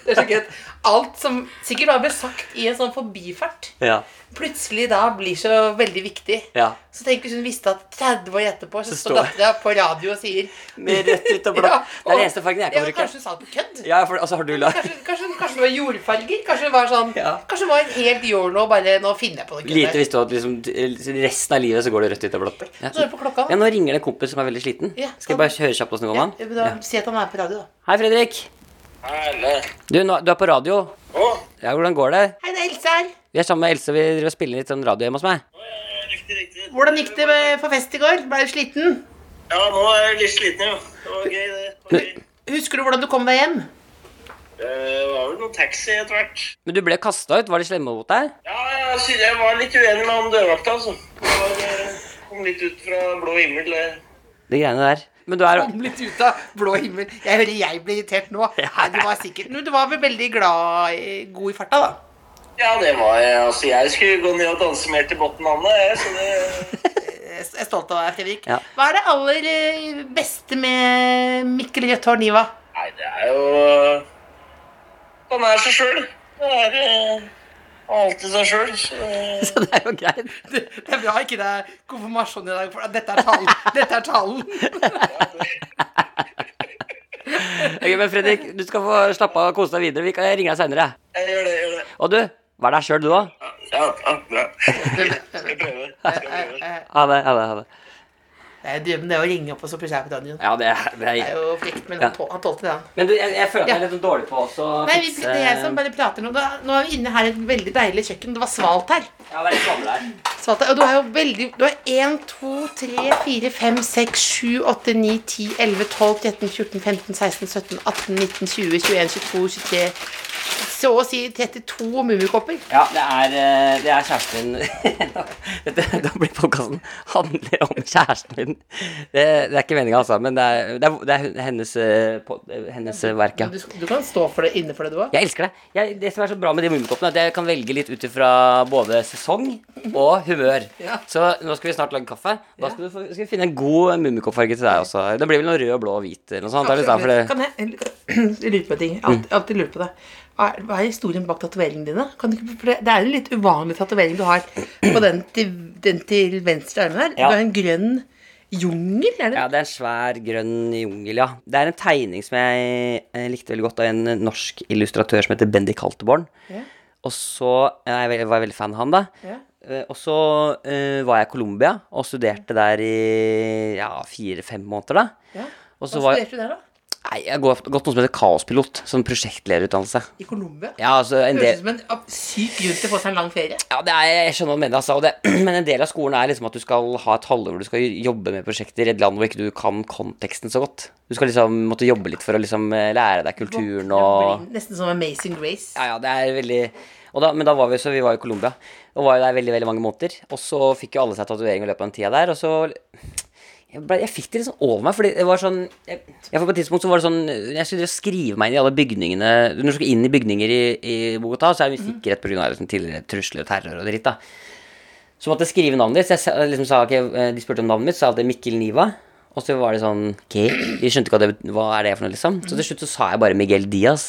Speaker 1: Det er så gøy. at Alt som sikkert da ble sagt i en sånn forbifart,
Speaker 2: Ja.
Speaker 1: plutselig da blir så veldig viktig.
Speaker 2: ja.
Speaker 1: Så tenk hvis hun visste at 30 år etterpå så,
Speaker 2: Så
Speaker 1: står
Speaker 2: står-
Speaker 1: dattera på radio og sier
Speaker 2: Med rødt, hvitt og blått. Det er den eneste fargen jeg kan
Speaker 1: ja, men
Speaker 2: bruke.
Speaker 1: Kanskje hun sa det på kødd?
Speaker 2: Ja, for, altså, har du la
Speaker 1: Kanskje, kanskje, kanskje det var jordfarger? Kanskje det var sånn
Speaker 2: Ja.
Speaker 1: Kanskje det var en helt yolo, bare nå finner jeg på noe.
Speaker 2: Lite
Speaker 1: kødd.
Speaker 2: visste du at liksom, d- resten av livet så går det rødt, hvitt og blått. Ja.
Speaker 1: Nå er det på klokka,
Speaker 2: Ja,
Speaker 1: da.
Speaker 2: nå ringer det en kompis som er veldig sliten.
Speaker 1: Ja,
Speaker 2: Skal jeg bare høre kjapt åssen det går
Speaker 1: Ja,
Speaker 2: med han?
Speaker 1: men da, Si at han er på radio, da.
Speaker 2: Hei, Fredrik.
Speaker 4: Helle.
Speaker 2: Du, nå, du er på radio.
Speaker 4: Å,
Speaker 2: Ja, hvordan går det?
Speaker 1: Hei, det er Else her.
Speaker 2: Vi er sammen med Else, og vi driver og spiller litt sånn radio hjemme hos meg.
Speaker 4: riktig, riktig.
Speaker 1: Hvordan gikk det med- på fest i går? Ble du sliten?
Speaker 4: Ja, nå er jeg litt sliten, jo. Det var gøy, det. Det var gøy.
Speaker 1: Husker du hvordan du kom deg hjem?
Speaker 4: Det var vel noen taxi etter hvert.
Speaker 2: Men du ble kasta ut. Var de slemme mot deg?
Speaker 4: Ja, jeg synes jeg var litt uenig med han dørvakta, altså. Det var, eh, kom litt ut fra blå himmel. det.
Speaker 2: De greiene der. Men du er
Speaker 1: Kom litt ut av blå himmel. Jeg hører jeg blir irritert nå. Nei, du var sikkert Men du var vel veldig glad i- god i farta, da.
Speaker 4: Ja, det var jeg. Altså, jeg skulle gå ned og danse mer til Bottenlandet, jeg, så det
Speaker 1: Jeg er stolt av deg, Fredrik.
Speaker 2: Ja.
Speaker 1: Hva er det aller eh, beste med Mikkel Rødt Hår Niva?
Speaker 4: Nei, det er jo eh, Han er seg sjøl. Det er eh, alltid seg sjøl. Så
Speaker 2: Så det er jo greit.
Speaker 1: Det det er bra ikke det er konfirmasjon i dag, for dette er talen. Dette er talen.
Speaker 2: Ok, men Fredrik, du skal få slappe av og kose deg videre. Vi kan jeg ringer deg seinere.
Speaker 4: jeg gjør det, jeg gjør det.
Speaker 2: Og du, vær deg sjøl, du òg.
Speaker 4: Ja, ja bra. Skal prøve. Skal prøve.
Speaker 2: Ha det. ha det, ha det.
Speaker 1: Det er drømmen, det å ringe opp og så plutselig er jeg på radioen.
Speaker 2: Ja, det er, det
Speaker 1: Det er
Speaker 2: er
Speaker 1: jo frekt, men
Speaker 2: Ja.
Speaker 1: han tå- han tålte det, han.
Speaker 2: Men du, jeg, jeg føler at jeg
Speaker 1: Ja.
Speaker 2: er litt sånn dårlig på også å
Speaker 1: Nei, vi,
Speaker 2: fikse
Speaker 1: det er jeg som bare prater nå. Da- Nå er vi inne her i et veldig deilig kjøkken. Det var svalt her.
Speaker 2: Ja, det er litt gammel her.
Speaker 1: Svalt her. Og du har jo veldig Du har 1, 2, 3, 4, 5, 6, 7, 8, 9, 10, 11, 12, 13, 14, 15, 16, 17, 18, 19, 20, 21, 22, 23 Så å si 32 mummikopper.
Speaker 2: Ja, det er, eh, det er kjæresten min. Dette, da blir podkasten handler om kjæresten min. Det, det er ikke meninga, altså, men det er, det er, det er hennes, eh, pod- hennes eh, verk, ja.
Speaker 1: Du, du kan stå for det inne for det, du òg.
Speaker 2: Jeg elsker det. Jeg, det som er så bra med de mummikoppene, er at jeg kan velge litt ut ifra både sesong og humør.
Speaker 1: Ja.
Speaker 2: Så nå skal vi snart lage kaffe. Da skal, du, få- skal vi finne en god mummikoppfarge til deg også. Det blir vel noe rød, blå og hvit eller noe sånt. Det er litt Mm. der, for det,
Speaker 1: Kan jeg jeg lurer på en ting? Jeg har Alltid, alltid lurer på det. Hva er, hva er historien bak tatoveringene dine? Kan du, ikke- for det, det er en litt uvanlig tatovering du har på den til, den til venstre armen her.
Speaker 2: Ja.
Speaker 1: Du har en grønn Jungel? Er det?
Speaker 2: Ja, det er en svær, grønn jungel, ja. Det er en tegning som jeg eh, likte veldig godt av en eh, norsk illustratør som heter Bendik Halteborn.
Speaker 1: Ja.
Speaker 2: Og så ja, Jeg ve- var veldig fan av han, da.
Speaker 1: Ja.
Speaker 2: Eh, Og så eh, var jeg i Colombia og studerte der i ja, fire-fem måneder, da.
Speaker 1: Ja.
Speaker 2: Og
Speaker 1: Hva
Speaker 2: så var
Speaker 1: studerte du der, da?
Speaker 2: Nei, jeg har gått gått noe som heter kaospilot, som prosjektlederutdannelse.
Speaker 1: I Colombia?
Speaker 2: Ja, altså en del
Speaker 1: Høres ut som en ab- syk grunn til å få seg en lang ferie.
Speaker 2: Ja, det er, jeg skjønner hva du mener, altså. Og det, men en del av skolen er liksom at du skal ha et halvår hvor du skal jobbe med prosjekter i et land hvor ikke du kan konteksten så godt. Du skal liksom måtte jobbe litt for å liksom eh, lære deg kulturen og
Speaker 1: Nesten som Amazing Grace.
Speaker 2: Ja, ja, det er veldig og da, Men da var vi så vi var i Colombia og var jo der veldig, veldig mange måneder. Og så fikk jo alle seg tatovering i løpet av den tida der, og så jeg, ble, jeg fikk det litt sånn over meg, fordi det var sånn jeg, jeg, På et tidspunkt så var det sånn Jeg skulle drive og skrive meg inn i alle bygningene Når du skal inn i bygninger i, i Bogotá, så er det mye sikkerhet pga. Liksom, tidligere trusler og terror og dritt, da. Så måtte jeg skrive navnet ditt. Så jeg sa- liksom sa, ok, eh, de spurte om navnet mitt, så sa jeg alltid Mikkel Niva. Og så var det sånn Ok, de skjønte ikke hva det, bet- hva er det for noe, liksom. Så til slutt så sa jeg bare Miguel Diaz.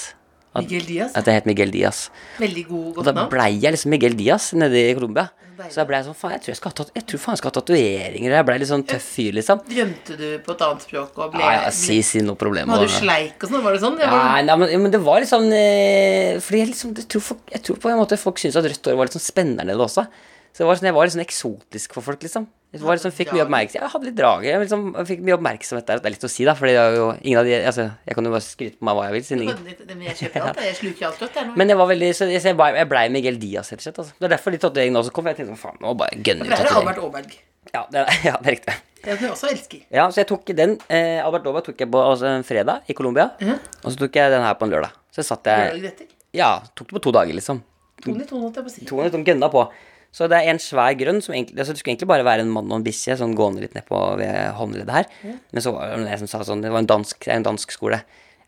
Speaker 2: At,
Speaker 1: Miguel Diaz.
Speaker 2: At jeg het Miguel Diaz.
Speaker 1: Veldig god,
Speaker 2: Og
Speaker 1: godt
Speaker 2: da
Speaker 1: navn.
Speaker 2: blei jeg liksom Miguel Diaz nede i Colombia.
Speaker 1: Deilig.
Speaker 2: Så da blei jeg sånn Faen, jeg tror jeg skal ha, tat jeg tror faen jeg skal ha tatoveringer. Jeg blei litt sånn tøff fyr, liksom.
Speaker 1: Drømte du på et annet språk og ble
Speaker 2: Ja, ja, si, si noe problem.
Speaker 1: Hadde
Speaker 2: og-
Speaker 1: du sleik og sånn? Var det sånn? Jeg var,
Speaker 2: Nei, nei men, ja, men det var liksom eh, Fordi jeg liksom jeg tror, folk, jeg tror på en måte folk syntes at rødt hår var litt sånn spennende nede også. Så det var sånn, jeg var litt sånn eksotisk for folk, liksom. Jeg var liksom, fikk mye oppmerksomhet. Jeg hadde litt drage. Jeg, liksom, jeg fikk mye oppmerksomhet der. Det er litt å si, da. Fordi det er jo ingen av de altså, Jeg kan jo bare skryte på meg hva jeg vil. Siden ingen.
Speaker 1: Det- men jeg kjøper alt, jeg sluker alt rått. jeg nå.
Speaker 2: Men jeg var veldig Så jeg, så jeg, ble- jeg blei Miguel Diaz, rett og slett. Altså. Det er derfor de tatoveringene også kom. for Jeg tenkte faen, nå bare gønner
Speaker 1: Det
Speaker 2: vi
Speaker 1: er det
Speaker 2: tatovering.
Speaker 1: Albert Aaberg.
Speaker 2: Ja, det er- ja, det er riktig.
Speaker 1: Det er den jeg også elsker.
Speaker 2: Ja, så jeg tok den eh, Albert Dova tok jeg på altså, en fredag i Colombia.
Speaker 1: Mhm.
Speaker 2: Og så tok jeg den her på en lørdag. Så satt jeg
Speaker 1: Lørdagen etter.
Speaker 2: Ja, tok det på to dager, liksom.
Speaker 1: Tony Tone, holdt jeg på å si.
Speaker 2: To ganger sånn gønna på. Så det er en svær grønn som egentlig altså Det skulle egentlig bare være en mann og en bikkje sånn gående litt nedpå ved håndleddet her. Men så var det noen som sa sånn Det var en dansk, det er en dansk skole.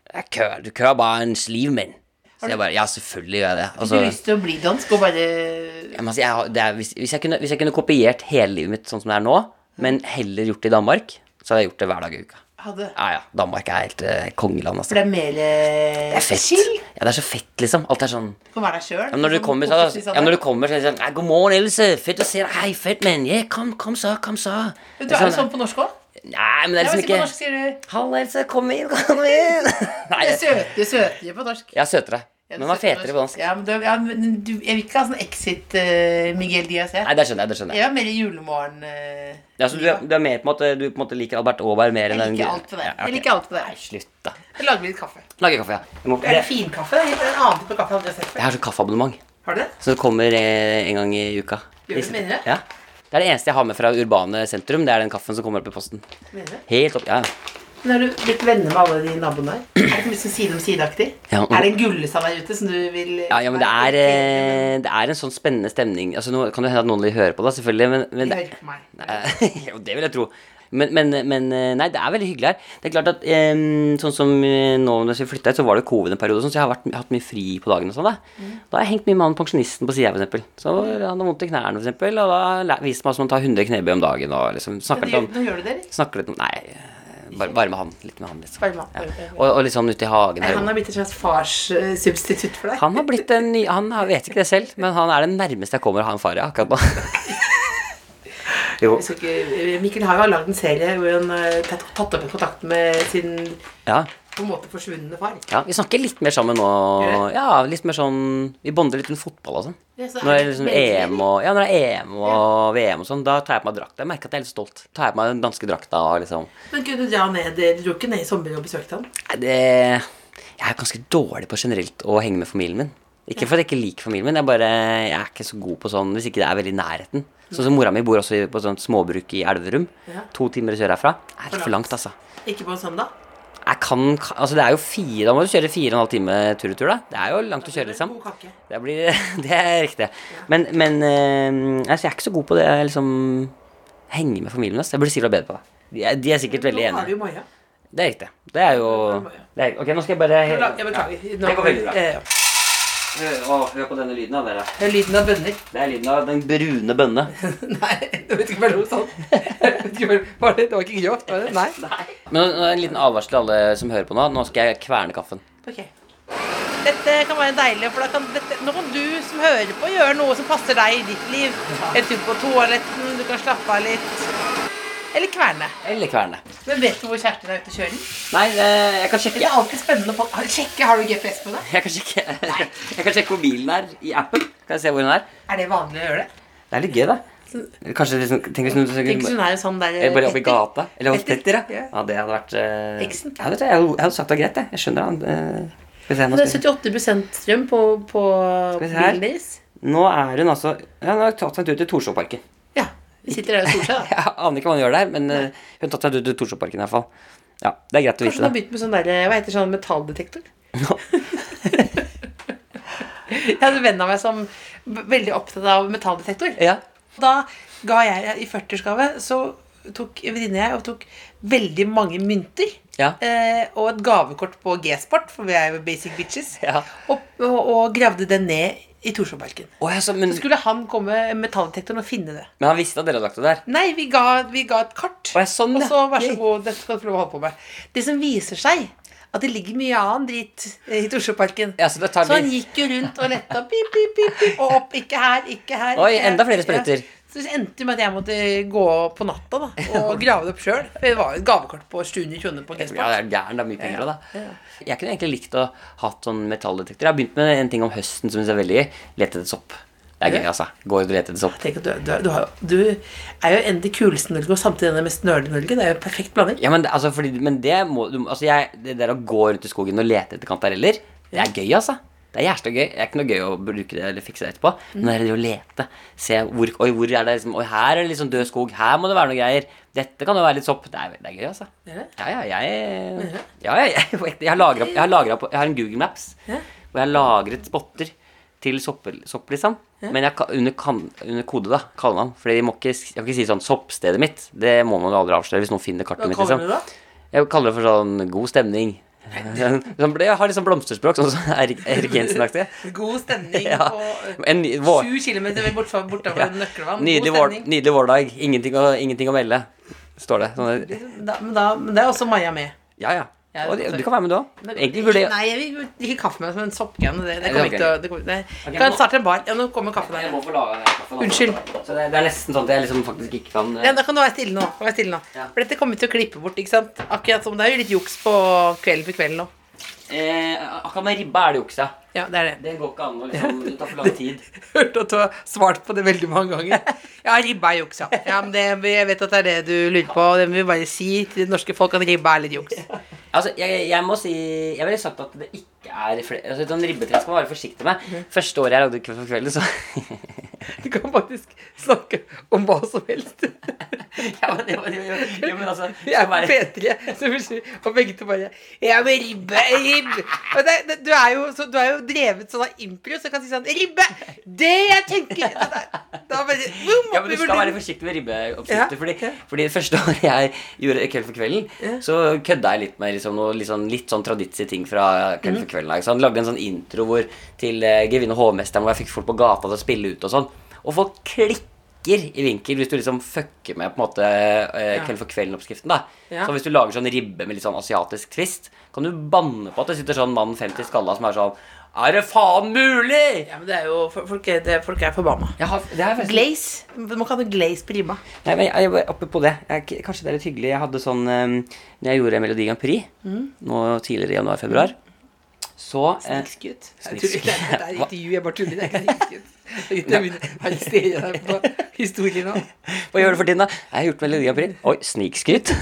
Speaker 2: Det er kø, du kører bare en sliv, min. Så jeg bare Ja, selvfølgelig gjør jeg det. Altså, Og
Speaker 1: Du har
Speaker 2: så-
Speaker 1: lyst til å bli dansk og bare
Speaker 2: ja, men altså, jeg, har- det er, hvis, hvis, jeg kunne, hvis jeg kunne kopiert hele livet mitt sånn som det er nå, men heller gjort det i Danmark, så hadde jeg gjort det hver dag i uka.
Speaker 1: ha det?
Speaker 2: Ja, ja. Danmark er helt eh, kongeland, altså.
Speaker 1: For det er mer eh,
Speaker 2: Det er fett. Ja, det er så fett, liksom. Alt er sånn
Speaker 1: Kan være deg Sånn sjøl.
Speaker 2: Ja, men når du kommer, så, ja, når du kommer, så er det sånn «Nei, 'God morgen, Else. Fett å se deg. Hei, fett, men. Yeah, kom, kom så, kom så.'
Speaker 1: Du
Speaker 2: Det
Speaker 1: er
Speaker 2: er
Speaker 1: jo sånn på norsk òg.
Speaker 2: Nei, men det er liksom
Speaker 1: På norsk
Speaker 2: ikke
Speaker 1: sier du
Speaker 2: 'Halla, Else. Kom inn, kom inn.' Nei,
Speaker 1: Du er
Speaker 2: jeg
Speaker 1: søtere, søtere på norsk.
Speaker 2: jeg er søtere.
Speaker 1: Ja,
Speaker 2: Men
Speaker 1: du
Speaker 2: man
Speaker 1: er
Speaker 2: er
Speaker 1: søtere
Speaker 2: fetere på dansk.
Speaker 1: Ja, men du, ja, men du, jeg vil ikke ha sånn exit eh, Miguel Diaz. Jeg
Speaker 2: Nei, det skjønner jeg. det skjønner jeg
Speaker 1: Jeg var mer i julemorgen. eh,
Speaker 2: ja, så du, er- du er mer på en måte Du på en måte liker Albert Aaberg mer enn
Speaker 1: Jeg
Speaker 2: den
Speaker 1: liker alt på det.
Speaker 2: Ja, ok.
Speaker 1: Jeg liker alt på
Speaker 2: Nei,
Speaker 1: det.
Speaker 2: slutt, da.
Speaker 1: Jeg lager litt kaffe.
Speaker 2: Lager kaffe, ja. Jeg, må,
Speaker 1: Er det
Speaker 2: jeg,
Speaker 1: finkaffe? Det er helt en annen type kaffe jeg aldri har sett før.
Speaker 2: har sånn kaffeabonnement
Speaker 1: Har du det?
Speaker 2: som kommer eh, en gang i uka.
Speaker 1: Gjør du det, mener du?
Speaker 2: Ja. Det er det eneste jeg har med fra urbane sentrum. Det er den kaffen som kommer opp i posten.
Speaker 1: Mener du?
Speaker 2: Helt opp, ja, ja.
Speaker 1: Men har du blitt venner med alle de naboene her? Er det ikke mye sånn side om side-aktig?
Speaker 2: Ja, og-
Speaker 1: Er det en gullestad der ute som du vil
Speaker 2: Ja, ja, men det er, eh, det er en sånn spennende stemning. Altså, nå kan det hende at noen vil høre på det, selvfølgelig, men, men det,
Speaker 1: Det hører på meg.
Speaker 2: Nei, Eh, Jo, det vil jeg tro. Men, men, men eh, nei, det er veldig hyggelig her. Det er klart at eh, sånn som eh, nå når vi flytta hit, så var det covid en periode, og sånn, så jeg har vært, hatt mye fri på dagen. og sånn Da
Speaker 1: Mm.
Speaker 2: Da har jeg hengt mye med han pensjonisten på sida, f.eks. Så han har vondt i knærne, for eksempel og da læ- viste meg hvordan man tar 100 knebøy om dagen og liksom
Speaker 1: Men
Speaker 2: snakker
Speaker 1: det
Speaker 2: litt
Speaker 1: gjør-
Speaker 2: om
Speaker 1: Nå gjør du det, eller?
Speaker 2: Snakker litt om Nei, eh, bare, bare med han. Litt med han, liksom.
Speaker 1: Bare med han, bare-
Speaker 2: Og, og litt sånn ute i hagen her.
Speaker 1: Han har blitt et slags farssubstitutt for deg.
Speaker 2: Han har blitt en ny Han har- vet ikke det selv, men han er den nærmeste jeg kommer å ha en far, ja, akkurat nå. Jo.
Speaker 1: Jeg skal ikke- Mikkel Haug har lagd en serie hvor han har tatt tatt opp kontakten med sin
Speaker 2: Ja,
Speaker 1: på en måte forsvunne far.
Speaker 2: ja. Vi snakker litt mer sammen
Speaker 1: Gjør
Speaker 2: nå. Ja, litt mer sånn Vi bonder litt rundt fotball og sånn.
Speaker 1: Ja, så er
Speaker 2: Når det er
Speaker 1: det
Speaker 2: liksom
Speaker 1: veldig-
Speaker 2: EM og, ja, når det er EM og VM og sånn, da tar jeg på meg drakta. Jeg merker at jeg er litt stolt. Tar jeg på meg den danske drakta og liksom
Speaker 1: Men kunne du dra ned Du dro ikke ned i sommer og besøkte han?
Speaker 2: Nei, det Jeg er ganske dårlig på generelt å henge med familien min. Ikke fordi jeg ikke liker familien min, jeg, bare, jeg er ikke så god på sånn hvis ikke det er veldig i nærheten. Sånn som mora mi bor også i- på sånt småbruk i Elverum.
Speaker 1: Ja.
Speaker 2: To timer å kjøre herfra. Det er litt for langt, altså.
Speaker 1: Ikke på en søndag?
Speaker 2: Jeg kan, ka- altså det er jo fire, Da må du kjøre fire og en halv time tur-retur. da Det er jo langt å kjøre,
Speaker 1: Det er
Speaker 2: liksom.
Speaker 1: god kake.
Speaker 2: Det, blir, det er riktig. Men, men eh, altså, jeg er ikke så god på det liksom henge med familien. Altså. Jeg burde sikkert vært bedre på det. De er, de er sikkert veldig
Speaker 1: Nå har du
Speaker 2: enige.
Speaker 1: jo Maja.
Speaker 2: Det er riktig. Det er jo det er, Ok, nå skal jeg bare
Speaker 1: Jeg beklager. Jeg
Speaker 2: Det går veldig bra.
Speaker 1: beklager. Eh,
Speaker 2: Hør, hør på denne lyden, da, dere.
Speaker 1: Det er lyden av bønner.
Speaker 2: Det er lyden av den brune bønne.
Speaker 1: Nei, jeg vet ikke om det var sånn. Jeg vet ikke om det var det. Det var ikke grovt, var det? Nei.
Speaker 2: Men nå- nå er en liten advarsel til alle som hører på nå. Nå skal jeg kverne kaffen.
Speaker 1: Ok. Dette kan være deilig, for da kan dette, nå kan du som hører på, gjøre noe som passer deg i ditt liv. En tur på toaletten, du kan slappe av litt. Eller kverne.
Speaker 2: Eller kverne.
Speaker 1: Men vet du hvor Kjersten er ute og kjører?
Speaker 2: Nei, eh, jeg kan
Speaker 1: Det
Speaker 2: sjekke.
Speaker 1: er alltid spennende å få Har- sjekke. Har du GPS på deg?
Speaker 2: Jeg kan sjekke, jeg kan sjekke hvor bilen er i appen. Kan jeg se hvor den er?
Speaker 1: Er det vanlig å gjøre det?
Speaker 2: Det er litt gøy, da. Kanskje liksom, tenk hvis
Speaker 1: Tenk hvis
Speaker 2: noen
Speaker 1: hun er en sånn der
Speaker 2: Eller bare oppe i
Speaker 1: Petter.
Speaker 2: gata. Eller hos
Speaker 1: Petter.
Speaker 2: Petter, ja.
Speaker 1: Ja.
Speaker 2: ja. Det hadde vært eh,
Speaker 1: Eksen.
Speaker 2: ja, vet du, jeg, hadde- jeg hadde sagt det var greit, jeg. Jeg skjønner han. eh, skal vi se, nå,
Speaker 1: Men Det
Speaker 2: skal
Speaker 1: er 78 strøm på, på
Speaker 2: vi se her.
Speaker 1: bilen deres.
Speaker 2: vi- nå er hun altså ja, Hun har tatt seg en tur til Torshovparken.
Speaker 1: Ja. Vi sitter der og soler seg, da.
Speaker 2: Jeg aner ikke hva hun gjør der, men eh, hun har tatt seg en tur til Torshovparken i hvert fall. Ja, Det er greit å
Speaker 1: Kanskje hun
Speaker 2: vite,
Speaker 1: har
Speaker 2: da.
Speaker 1: begynt med sånn der, hva heter sånn metalldetektor? jeg hadde en venn av meg som var veldig opptatt av metalldetektor.
Speaker 2: Ja.
Speaker 1: Da ga jeg i 40-årsgave, så tok en venninne jeg og tok veldig mange mynter.
Speaker 2: Ja.
Speaker 1: Eh, og et gavekort på G-sport, for vi er jo basic bitches.
Speaker 2: Ja.
Speaker 1: Og, og, og gravde den ned i Torshovparken.
Speaker 2: Å, ja, så, men,
Speaker 1: Så skulle han komme metalldetektoren og finne det.
Speaker 2: men han visste at dere hadde lagt det der?
Speaker 1: Nei, vi ga, vi ga et kart.
Speaker 2: Å, ja, sånn,
Speaker 1: Og
Speaker 2: ja.
Speaker 1: så vær så
Speaker 2: Gøy.
Speaker 1: god, dette skal du få lov å holde på med. Det som viser seg, at det ligger mye annen dritt eh, i Torsoparken.
Speaker 2: Ja, så det tar
Speaker 1: Så han
Speaker 2: litt-
Speaker 1: gikk jo rundt og letta pip, pip, pip, pip, og opp. Ikke her, ikke her.
Speaker 2: Oi,
Speaker 1: ikke her.
Speaker 2: enda flere sprøyter.
Speaker 1: Ja. Så det endte jo med at jeg måtte gå på natta da, og grave det opp sjøl. For det var jo et gavekort på 700 kroner på
Speaker 2: Ja,
Speaker 1: G-sport.
Speaker 2: det er gæren. Det er mye penger òg, da. Jeg kunne egentlig likt å hatt sånn metalldetektor. Jeg har begynt med en ting om høsten som jeg er veldig gøy. Lete etter sopp. Det er gøy, altså. Gå ut og lete etter sopp.
Speaker 1: Tenk at du, du, du, har, jo- du er jo en av de kuleste i Norge, og samtidig en av de mest nerde i Norge. Det er jo en perfekt blanding.
Speaker 2: Ja, men, det- altså, fordi, men det må du, altså, jeg, Det der å gå rundt i skogen og lete etter kantareller, det er gøy, altså. Det er jævla gøy. Det er ikke noe gøy å bruke det eller fikse det etterpå.
Speaker 1: Mm.
Speaker 2: Men det er det å lete. Se hvor Oi, hvor er det liksom Oi, her er det liksom død skog. Her må det være noe greier. Dette kan jo være litt sopp. Det er, det er gøy, altså.
Speaker 1: det?
Speaker 2: Ja, ja, jeg Ja, jeg, jeg, jeg, har lagret, jeg har lagret på Jeg har en Google Maps hvor jeg har lagret spotter til sopper, sopp, liksom. Men jeg, ka- under, kan, under kode, da, kaller man. Fordi jeg må ikke, s- jeg kan ikke si sånn soppstedet mitt. Det må man jo aldri avsløre hvis noen finner kartet
Speaker 1: Hva
Speaker 2: mitt.
Speaker 1: kaller du
Speaker 2: liksom.
Speaker 1: det da?
Speaker 2: Jeg kaller det for sånn god stemning. Sånn, Jeg har litt sånn blomsterspråk, sånn som Erik Erik Jensen-aktig.
Speaker 1: God stemning
Speaker 2: Ja.
Speaker 1: på
Speaker 2: En ny- vår,
Speaker 1: sju kilometer bortover, bortover
Speaker 2: Ja.
Speaker 1: Nøklevann. God
Speaker 2: nydelig, vår,
Speaker 1: stemning.
Speaker 2: nydelig vårdag. Ingenting å, ingenting å melde, står det. Sånn,
Speaker 1: Da, men, da, men det er også Maja med.
Speaker 2: ja, ja.
Speaker 1: Ja,
Speaker 2: Og det-
Speaker 1: sorry.
Speaker 2: du kan være med, du òg. Egentlig burde jeg
Speaker 1: Nei, jeg vil ikke kaffe med men soppgreiene. Det, det
Speaker 2: Nei, det er
Speaker 1: kommer ikke til å det kommer, nei. Jeg Kan starte en bar. Ja, nå kommer kaffen
Speaker 2: Jeg
Speaker 1: her.
Speaker 2: må få laga den kaffen. altså.
Speaker 1: Unnskyld.
Speaker 2: Så det, det er nesten sånn at jeg liksom faktisk ikke kan eh,
Speaker 1: Ja, da kan du være stille nå. Vær stille nå.
Speaker 2: Ja.
Speaker 1: For dette kommer vi til å klippe bort. ikke sant? Akkurat som Det er jo litt juks på kvelden for kvelden nå.
Speaker 2: eh, Akkurat med ribba er det juksa.
Speaker 1: Ja, det er det.
Speaker 2: Det går ikke an å liksom Det tar for lang tid.
Speaker 1: Hørte at du har svart på det veldig mange ganger. Ja, ribba er juks, ja. ja men det, jeg vet at det er det du lurer på, og det må vi bare si til det norske folk at ribba er litt juks.
Speaker 2: Altså, jeg, jeg må si Jeg ville sagt at det ikke er flere altså, Sånn ribbetre skal man være forsiktig med. Første året jeg lagde Kveld for kvelden, så
Speaker 1: Du kan faktisk snakke om hva som helst.
Speaker 2: Ja, men, jo, jo, jo, jo, men altså
Speaker 1: Vi er
Speaker 2: skal være-
Speaker 1: P3, så plutselig Og begge to bare Ja, men ribbe, ribbe Og det, det, du, er jo, så, du er jo drevet sånn av impro, så jeg kan si sånn Ribbe! Det jeg tenker det der- Da bare boom,
Speaker 2: Ja, men Du
Speaker 1: oppi
Speaker 2: skal være
Speaker 1: burde-
Speaker 2: forsiktig med ribbeoppskrifter.
Speaker 1: Ja,
Speaker 2: Fordi,
Speaker 1: ja.
Speaker 2: fordi det første året jeg gjorde Kveld for kvelden, så kødda jeg litt med liksom noe litt sånn, litt sånn traditsi ting fra Kveld for kvelden. da, Ikke sant? Lagde en sånn intro hvor, til eh, Grevinne og hovmesteren hvor jeg fikk folk på gata til å spille ut og sånn. Og folk klikker i vinkel hvis du liksom fucker med på en måte eh, Kveld for kvelden-oppskriften. da
Speaker 1: Ja.
Speaker 2: Så hvis du lager sånn ribbe med litt sånn asiatisk twist, kan du banne på at det sitter sånn mann 50 skalla som er sånn Er det faen mulig?!
Speaker 1: Ja, men det er jo Folk er, det, folk er forbanna.
Speaker 2: Jeg har, det er faktisk-
Speaker 1: Glaze. Du må ikke ha noe glaze på ribba.
Speaker 2: Nei, men jeg, jeg, Apropos det, jeg, k- kanskje det er litt hyggelig. Jeg hadde sånn um, Når jeg gjorde Melodi Grand Prix
Speaker 1: Mm.
Speaker 2: nå tidligere i januar-februar, så eh,
Speaker 1: Snikskut.
Speaker 2: Snikskryt.
Speaker 1: Det er et intervju, jeg bare tuller. Det er ikke snikskryt. Jeg begynner å arrestere deg på historien nå.
Speaker 2: Hva gjør du for tiden, da? Jeg har gjort Melodi Grand Prix. Oi, snikskryt.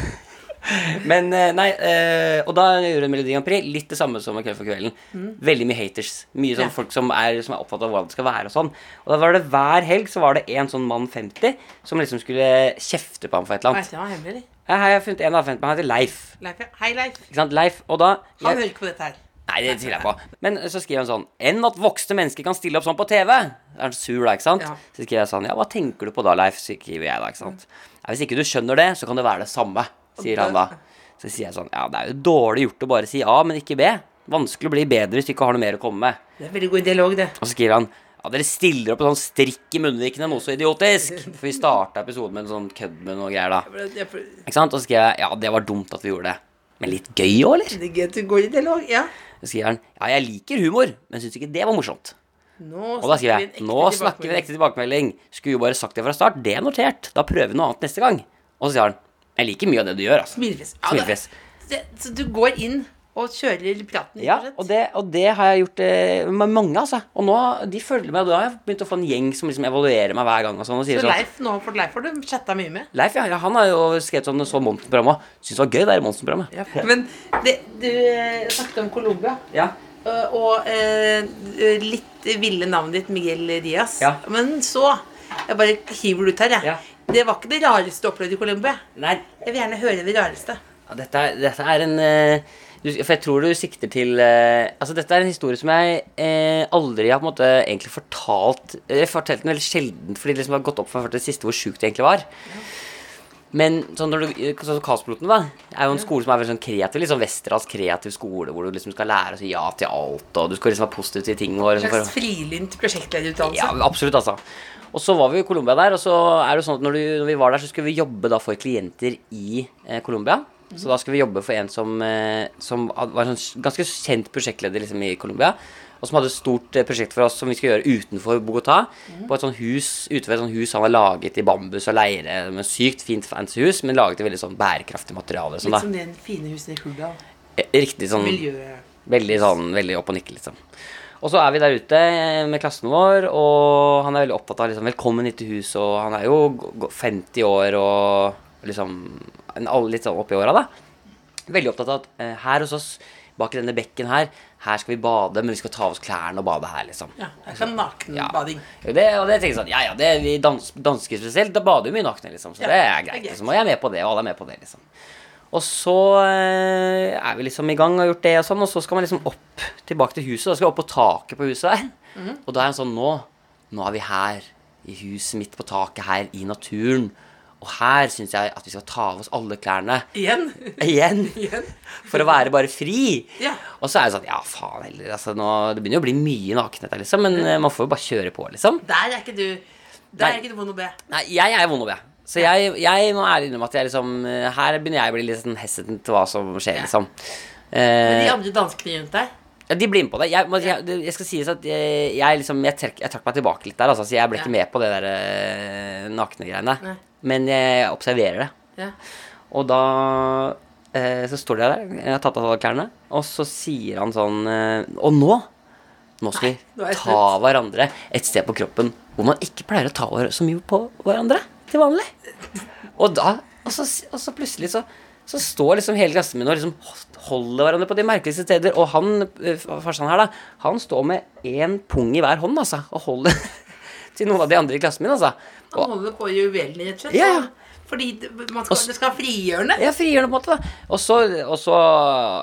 Speaker 2: Men eh, nei, eh, Og da gjorde jeg Melodi Grand Prix litt det samme som med Kveld for kvelden. Veldig mye haters. Mye sånn
Speaker 1: Mm. Ja.
Speaker 2: folk som er, som er opptatt av hvordan det skal være og sånn. Og da var det hver helg så var det en sånn mann 50 som liksom skulle kjefte på ham for et eller
Speaker 1: Nei,
Speaker 2: annet.
Speaker 1: det var hemmelig, eller?
Speaker 2: Hei, hei, jeg har funnet en av 50, han heter Leif.
Speaker 1: Leif, ja. Hei, Leif.
Speaker 2: Ikke sant, Leif? Og da
Speaker 1: Han hører ikke på dette her.
Speaker 2: Nei, det tviler jeg på. Men så skriver han sånn Enn at voksne mennesker kan stille opp sånn på TV. Er han sur da, ikke sant?
Speaker 1: Ja.
Speaker 2: Så skriver jeg sånn Ja, hva tenker du på da, Leif? Skriver jeg da, ikke sant. Nei, hvis ikke du skjønner det, så kan det være det samme, sier han da. Så sier jeg sånn Ja, det er jo dårlig gjort å bare si A, men ikke B. Vanskelig å bli bedre hvis du ikke har noe mer å komme med.
Speaker 1: Det er veldig god dialog, det.
Speaker 2: Og så skriver han ja, dere stiller opp en sånn strikk i munnvikene, noe så idiotisk. For vi starta episoden med en sånn kødd med noe greier, da.
Speaker 1: Jeg prøver-
Speaker 2: Ikke sant? Og så skrev jeg ja, det var dumt at vi gjorde det. Men litt gøy òg, eller?
Speaker 1: Det er gøy at du går i dialog, ja.
Speaker 2: Så skriver han ja, jeg liker humor, men syns ikke det var morsomt. Og
Speaker 1: Nå
Speaker 2: da skriver
Speaker 1: snakker vi en
Speaker 2: jeg
Speaker 1: ekte
Speaker 2: Nå snakker vi en
Speaker 1: tilbakemelding.
Speaker 2: ekte tilbakemelding. Skulle jo bare sagt det fra start. Det er notert. Da prøver vi noe annet neste gang. Og så sier han Jeg liker mye av det du gjør, altså.
Speaker 1: Smilefjes. Ja, da-
Speaker 2: Smilefjes.
Speaker 1: det- Så du går inn og kjører praten? rett
Speaker 2: Ja,
Speaker 1: og slett?
Speaker 2: og det, og det har jeg gjort eh, med mange, altså. Og nå, de følger meg, og da har jeg begynt å få en gjeng som liksom evaluerer meg hver gang. Og sånn, og sier
Speaker 1: Så
Speaker 2: sånn
Speaker 1: Leif, nå har han fått Leif for det, chatta mye med.
Speaker 2: Leif, ja, ja, han har jo skrevet sånn så Monsen-programmet. og Syns det var gøy, det der Monsen-programmet.
Speaker 1: Men det, du eh, snakket om Colombia.
Speaker 2: Ja.
Speaker 1: eh, Og eh, litt ville navnet ditt Miguel Diaz.
Speaker 2: Ja.
Speaker 1: Men så Jeg bare hiver det ut her, jeg.
Speaker 2: Ja.
Speaker 1: Det var ikke det rareste du opplevde i Colombia.
Speaker 2: Nei,
Speaker 1: Jeg vil gjerne høre det rareste.
Speaker 2: ja, dette, er- dette er en eh, du, For jeg tror du sikter til eh, Altså, dette er en historie som jeg eh, aldri har på en måte egentlig fortalt Jeg fortalte den veldig sjelden, fordi det liksom har gått opp for meg det siste hvor sjukt det egentlig var. Men sånn når du, sånn som Kaospiloten da, er jo en skole som er veldig sånn kreativ, litt sånn Westerdals kreativ skole, hvor du liksom skal lære å si ja til alt, og du skal liksom være positiv til ting. Og,
Speaker 1: En
Speaker 2: liksom, for,
Speaker 1: slags frilynt prosjektlederutdannelse.
Speaker 2: Ja, absolutt, altså. Og så var vi i Colombia der, og så er det sånn at når, du, når vi var der, så skulle vi jobbe da for klienter i eh, Colombia. Så da skulle vi jobbe for en som, eh, som had- var en sånn ganske kjent prosjektleder liksom, i Colombia. Og som hadde et stort eh, prosjekt for oss som vi skulle gjøre utenfor Bogotá. På et sånt hus ute ved et sånt hus han hadde laget i bambus og leire. Med sykt fint fancy hus, men laget i veldig sånn bærekraftig materiale. Sånn,
Speaker 1: Litt
Speaker 2: da.
Speaker 1: som de fine husene i Hurdal.
Speaker 2: Eh, Riktig sånn
Speaker 1: Miljø...
Speaker 2: Veldig sånn, veldig opp og nikke, liksom. Og så er vi der ute eh, med klassen vår, og han er veldig opptatt av liksom, 'velkommen hit til huset', og han er jo g- g- 50 år og liksom en, all- litt sånn oppi åra, da. Veldig opptatt av at eh, her hos oss, bak i denne bekken her, her skal vi bade, men vi skal ta av oss klærne og bade her, liksom.
Speaker 1: Ja, her kan nakenbading.
Speaker 2: Jo, Det, og det tenker jeg sånn, ja, ja, det, vi dans, dansker spesielt, da bader vi mye nakne, liksom. Så
Speaker 1: Ja,
Speaker 2: det er
Speaker 1: det er
Speaker 2: greit,
Speaker 1: greit.
Speaker 2: liksom. Og jeg er med på det, og alle er med på det, liksom. Og så eh, er vi liksom i gang og har gjort det og sånn, og så skal man liksom opp tilbake til huset. Da skal vi opp på taket på huset der.
Speaker 1: Mhm.
Speaker 2: Og da er han sånn, nå, nå er vi her, i huset midt på taket her, i naturen. Og her syns jeg at vi skal ta av oss alle klærne
Speaker 1: Igjen.
Speaker 2: igjen. For å være bare fri.
Speaker 1: Ja.
Speaker 2: Og så er det sånn Ja, faen heller. Altså, nå, det begynner jo å bli mye nakenhet her, liksom. Men eh, man får jo bare kjøre på, liksom.
Speaker 1: Der er ikke du Der er ikke du vond å be.
Speaker 2: Nei, Eh. jeg er vond å be. Så jeg, jeg må ærlig innrømme at jeg liksom eh, Her begynner jeg å bli litt sånn hesitant til hva som skjer, liksom.
Speaker 1: Men
Speaker 2: Eh,
Speaker 1: de andre danskene rundt deg
Speaker 2: ja, de blir med på det. Jeg, må- jeg, det- jeg skal sies at jeg, jeg, liksom, jeg, trekk, jeg trakk meg tilbake litt der. Altså, så jeg ble
Speaker 1: Ja.
Speaker 2: ikke med på det der eh, nakne greiene.
Speaker 1: Nei.
Speaker 2: Men jeg observerer det.
Speaker 1: ja.
Speaker 2: Og da eh, så står de der, jeg har tatt av klærne, og så sier han sånn eh, Og nå! Nå skal
Speaker 1: nå er
Speaker 2: vi
Speaker 1: jeg
Speaker 2: ta hverandre et sted på kroppen hvor man ikke pleier å ta hver- så mye på hverandre til vanlig. Og da Og så, og så plutselig så så står liksom hele klassen min og liksom holder hverandre på de merkeligste steder. Og han eh, farsan her, da, han står med én pung i hver hånd, altså, og holder til noen av de andre i klassen min, altså. Og
Speaker 1: Han holder på juvelene, rett og slett.
Speaker 2: Ja, ja.
Speaker 1: Fordi det- man skal, det skal ha frigjørende.
Speaker 2: Ja, frigjørende på en måte. da. Og så, og så,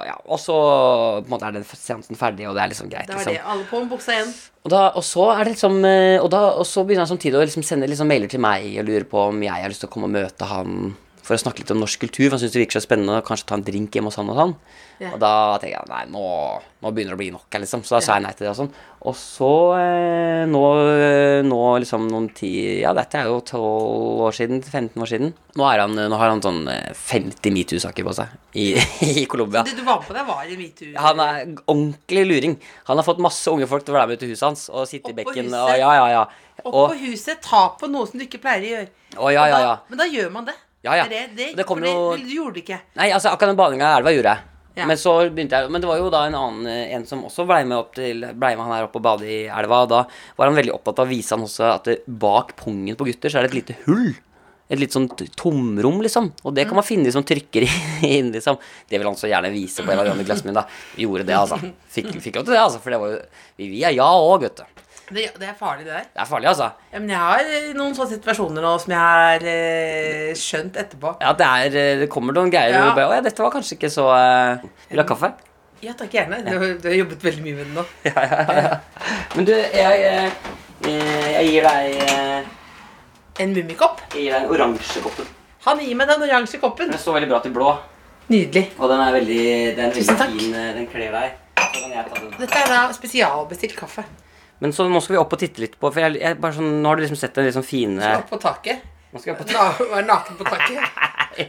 Speaker 2: ja, og så på en måte er den seansen ferdig, og det er liksom greit.
Speaker 1: Da er
Speaker 2: Liksom.
Speaker 1: det alle på med buksa igjen.
Speaker 2: Og, da, og så er det liksom eh, Og, da, og så begynner han samtidig å liksom sende liksom mailer til meg og lurer på om jeg har lyst til å komme og møte han for å snakke litt om norsk kultur. For han syns det virker så spennende å kanskje ta en drink hjemme hos han og sånn.
Speaker 1: Ja.
Speaker 2: Og da tenker jeg nei, nå, nå begynner det å bli nok her, liksom. Så da sa jeg nei til det og sånn. Og så eh, nå, eh, nå liksom noen ti Ja, dette er jo 12 år siden, 15 år siden. Nå, er han, nå har han sånn eh, 50 metoo-saker på seg i, i Colombia.
Speaker 1: Du, du var på deg var i metoo.
Speaker 2: Han er g- ordentlig luring. Han har fått masse unge folk til å være med til huset hans og sitte i
Speaker 1: Opp på
Speaker 2: bekken.
Speaker 1: huset.
Speaker 2: Og ja, ja, ja.
Speaker 1: Opp
Speaker 2: Og,
Speaker 1: på huset, ta på noe som du ikke pleier å gjøre.
Speaker 2: og ja,
Speaker 1: Og
Speaker 2: ja,
Speaker 1: da-
Speaker 2: ja.
Speaker 1: Men da gjør man det.
Speaker 2: Ja, ja.
Speaker 1: Det, det,
Speaker 2: Og det kommer
Speaker 1: for
Speaker 2: jo-
Speaker 1: Du gjorde det ikke.
Speaker 2: Nei, altså akkurat den badinga i elva gjorde jeg.
Speaker 1: Ja.
Speaker 2: Men så begynte jeg Men det var jo da en annen eh, En som også blei med opp til Blei med han her opp og bade i elva. Og da var han veldig opptatt av å vise han også at det, bak pungen på gutter så er det et lite hull. Et litt sånn t- tomrom, liksom. Og det kan man finne de som trykker i- inn, liksom. Det vil han så gjerne vise på en av de andre glassene mine, da. Gjorde det, altså. Fikk, fikk lov til det, altså. For det var jo Vi, vi er ja òg, vet du.
Speaker 1: Det, det er farlig, det der.
Speaker 2: Det er farlig, altså.
Speaker 1: Ja, men jeg har eh, noen sånne situasjoner nå som jeg har eh, skjønt etterpå.
Speaker 2: Ja, det, er, eh, det kommer noen greier
Speaker 1: Ja.
Speaker 2: hvor du bare, Å ja, dette var kanskje ikke så eh, Vil du ha kaffe?
Speaker 1: Ja, takk gjerne. Du, har- du har jobbet veldig mye med det nå.
Speaker 2: Men du, jeg, eh, eh, jeg gir deg eh,
Speaker 1: En mummikopp.
Speaker 2: Jeg gir deg en oransje koppen.
Speaker 1: Han gir meg den oransje koppen.
Speaker 2: Den står veldig bra til blå,
Speaker 1: Nydelig.
Speaker 2: og den er veldig, den er
Speaker 1: Tusen
Speaker 2: veldig
Speaker 1: takk.
Speaker 2: fin. eh, Den kler deg. Så kan jeg ta den.
Speaker 1: Dette er da spesialbestilt kaffe.
Speaker 2: Men så nå skal vi opp og titte litt på For jeg, jeg, bare sånn, nå har du liksom sett den liksom fine
Speaker 1: Opp på taket.
Speaker 2: Nå skal jeg på
Speaker 1: Na være naken på taket.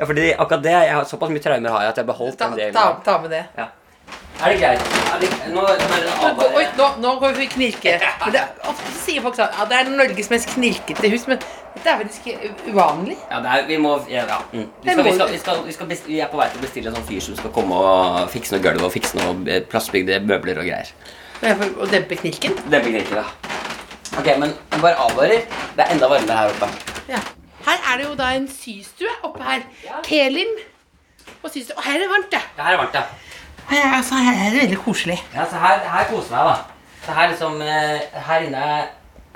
Speaker 2: Ja, fordi akkurat det jeg har, Såpass mye traumer har jeg at jeg har beholdt
Speaker 1: Ta,
Speaker 2: en del.
Speaker 1: ta, ta med det.
Speaker 2: Ja. Er det greit? Er det, nå bare
Speaker 1: Oi,
Speaker 2: advarer
Speaker 1: oi,
Speaker 2: jeg.
Speaker 1: nå, nå går vi knirke. Men det, ofte sier folk sånn ja, det er Norges mest knirkete hus, men Dette er faktisk ikke uvanlig.
Speaker 2: Ja, det er, vi må Ja. ja. Mm. Vi, skal, vi, skal, vi, skal, vi, skal best- vi er på vei til å bestille en sånn fyr som skal komme og fikse noe gulv og fikse noe eh, plassbygde møbler og greier.
Speaker 1: Men jeg får- Å dempe knirken.
Speaker 2: Det blir ikke da. Ok, men jeg bare advarer. Det er enda varmere her oppe.
Speaker 1: Ja. Her er det jo da en systue oppe her. Kelim og systue. Og her er det varmt, det.
Speaker 2: Det her er varmt, ja.
Speaker 1: Her er, altså, her er det veldig koselig.
Speaker 2: Ja, så her, her koser jeg meg, da. Så her liksom eh, Her inne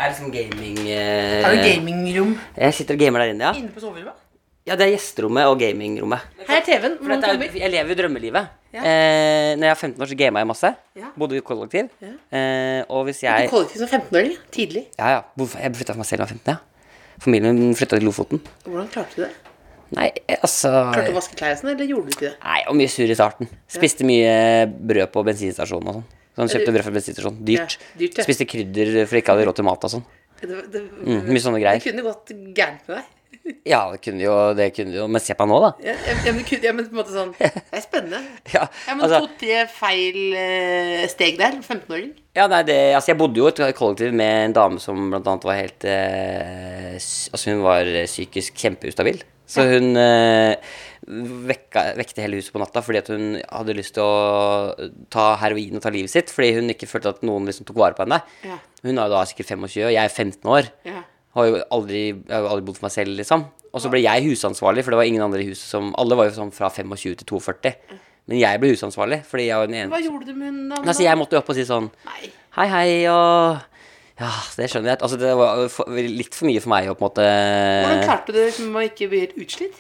Speaker 2: er liksom gaming... eh,
Speaker 1: Her er det gamingrom
Speaker 2: Jeg sitter og gamer der inne, ja.
Speaker 1: inne på soverommet.
Speaker 2: Ja, det er gjesterommet og gamingrommet.
Speaker 1: Her er TV-en.
Speaker 2: For
Speaker 1: Noen
Speaker 2: dette,
Speaker 1: kommer.
Speaker 2: er- jeg lever jo drømmelivet.
Speaker 1: Ja.
Speaker 2: Eh, når jeg var 15 år, så gama jeg masse.
Speaker 1: Ja.
Speaker 2: Bodde i kollektiv.
Speaker 1: Ja.
Speaker 2: Eh, og hvis
Speaker 1: Du
Speaker 2: jeg
Speaker 1: kollektiv som 15-åring. Tidlig.
Speaker 2: Ja, ja. Hvorfor- Jeg flytta for meg selv da jeg var 15, ja. Familien min flytta til Lofoten.
Speaker 1: Hvordan klarte du det?
Speaker 2: Nei, eh, altså
Speaker 1: Klarte du å vaske klærne, sånn, eller gjorde du ikke det?
Speaker 2: Nei, og mye sur i starten. Spiste mye brød på bensinstasjonen og sånn. Sånn, Kjøpte brød fra bensinstasjonen. Dyrt.
Speaker 1: Ja, dyrt, ja.
Speaker 2: Spiste krydder for ikke hadde råd til mat og sånn.
Speaker 1: Det, det,
Speaker 2: Mm, mye sånne greier.
Speaker 1: det kunne gått gærent med deg.
Speaker 2: Ja, det kunne jo, det kunne jo Men se på meg nå, da.
Speaker 1: Ja, ja, ja, men, kunne, ja, men på en måte sånn Det er spennende.
Speaker 2: Ja,
Speaker 1: Ja, men
Speaker 2: altså,
Speaker 1: To-tre feil eh, steg der. 15-åring.
Speaker 2: ja nei, det, altså Jeg bodde jo i et kollektiv med en dame som blant annet var helt eh, s- Altså, hun var psykisk kjempeustabil. Så hun eh, vekka, vekte hele huset på natta fordi at hun hadde lyst til å ta heroin og ta livet sitt. Fordi hun ikke følte at noen liksom tok vare på henne.
Speaker 1: Ja.
Speaker 2: Hun er jo da sikkert 25, og jeg er 15 år.
Speaker 1: Ja.
Speaker 2: Har jo aldri, jeg har jo aldri bodd for meg selv, liksom. Og så ble jeg husansvarlig, for det var ingen andre i huset som Alle var jo sånn fra 25 til 42. Men jeg ble husansvarlig, fordi jeg var den
Speaker 1: Hva
Speaker 2: ene
Speaker 1: gjorde du med hun da?
Speaker 2: Altså, jeg måtte jo opp og si sånn
Speaker 1: Nei.
Speaker 2: Hei, hei, og Ja, det skjønner jeg. Altså, det var for, litt for mye for meg å på en måte Eh.
Speaker 1: Hvordan klarte du det med å ikke bli helt utslitt?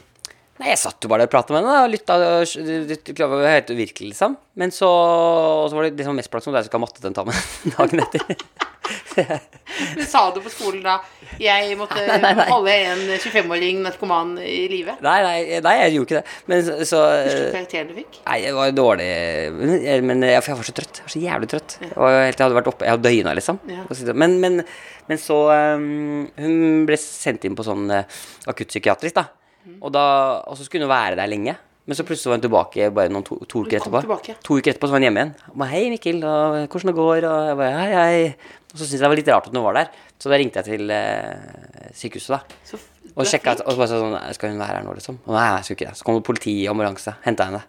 Speaker 2: Nei, jeg satt jo bare der og pratet med henne og lytta. og sk- lytt- Det var jo helt uvirkelig, liksom. Men så, og så var det liksom mest plagsomt at jeg skulle ha mattetentamen dagen etter.
Speaker 1: Men sa du på skolen da jeg måtte holde en 25-åring narkoman i live?
Speaker 2: Nei, nei, nei, jeg gjorde ikke det. Men så, så
Speaker 1: Husker du karakteren du fikk?
Speaker 2: Nei, det var dårlig Men- eh, Men jeg, for jeg var så trøtt. Jeg var så jævlig trøtt. Jeg, var, helt- jeg hadde vært oppe Jeg hadde døgna, liksom.
Speaker 1: Ja.
Speaker 2: Og så- Men, men, men så um, Hun ble sendt inn på sånn eh, akuttpsykiatrisk, da.
Speaker 1: Mm.
Speaker 2: Og da. Og så skulle hun være der lenge. Men så plutselig var hun tilbake bare noen to, to uker
Speaker 1: kom
Speaker 2: etterpå.
Speaker 1: tilbake.
Speaker 2: To uker etterpå så var hun hjemme igjen. Og ba, hei, Mikkel, og hvordan det går? Og jeg bare, hei, hei. Og så syntes jeg det var litt rart at hun var der. Så da ringte jeg til eh, sykehuset, da.
Speaker 1: Så f- du
Speaker 2: Og
Speaker 1: er
Speaker 2: sjekka
Speaker 1: flink.
Speaker 2: og så bare sånn Skal hun være her nå, liksom? Og nei, nei, jeg skulle ikke det. Så kom politiet og ambulanse. Henta henne.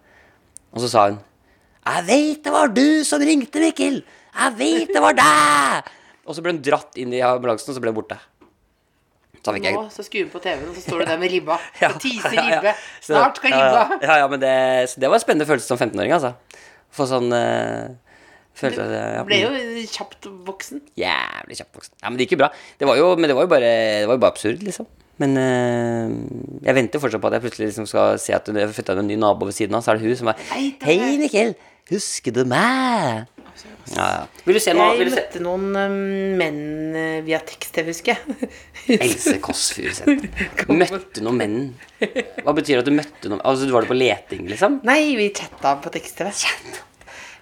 Speaker 2: Og så sa hun Jeg veit det var du som ringte, Mikkel! Jeg veit det var deg! Og så ble hun dratt inn i ambulansen, og så ble hun borte. Så fikk jeg
Speaker 1: Nå så skrur hun på TV-en, og så står du der med ribba.
Speaker 2: Ja,
Speaker 1: Og tiser
Speaker 2: ja, ja.
Speaker 1: ribbe.
Speaker 2: Så-
Speaker 1: Snart skal
Speaker 2: ja,
Speaker 1: ribba.
Speaker 2: ja, ja, men det, så det var en spennende følelse som 15-åring, altså. Få sånn eh, Følte at jeg ja,
Speaker 1: Ble jo kjapt voksen.
Speaker 2: Jævlig kjappvoksen. Ja, men det gikk jo bra. Det var jo, men det var jo bare, det var jo bare absurd, liksom. Men eh, jeg venter fortsatt på at jeg plutselig liksom skal se at hun har flytta en ny nabo ved siden av, så er det hun som er
Speaker 1: Hei, det er
Speaker 2: Hei,
Speaker 1: meg.»
Speaker 2: Mikkel! Husker du meg? Ja, ja. Vil du se noe?
Speaker 1: Jeg
Speaker 2: Vil du se?
Speaker 1: møtte noen øhm, menn øh, via tekst-TV, husker jeg.
Speaker 2: Else Kåss Furuseth. Møtte noen menn. Hva betyr det at du møtte noen Altså, du var det på leting, liksom?
Speaker 1: Nei, vi chatta på tekst-TV.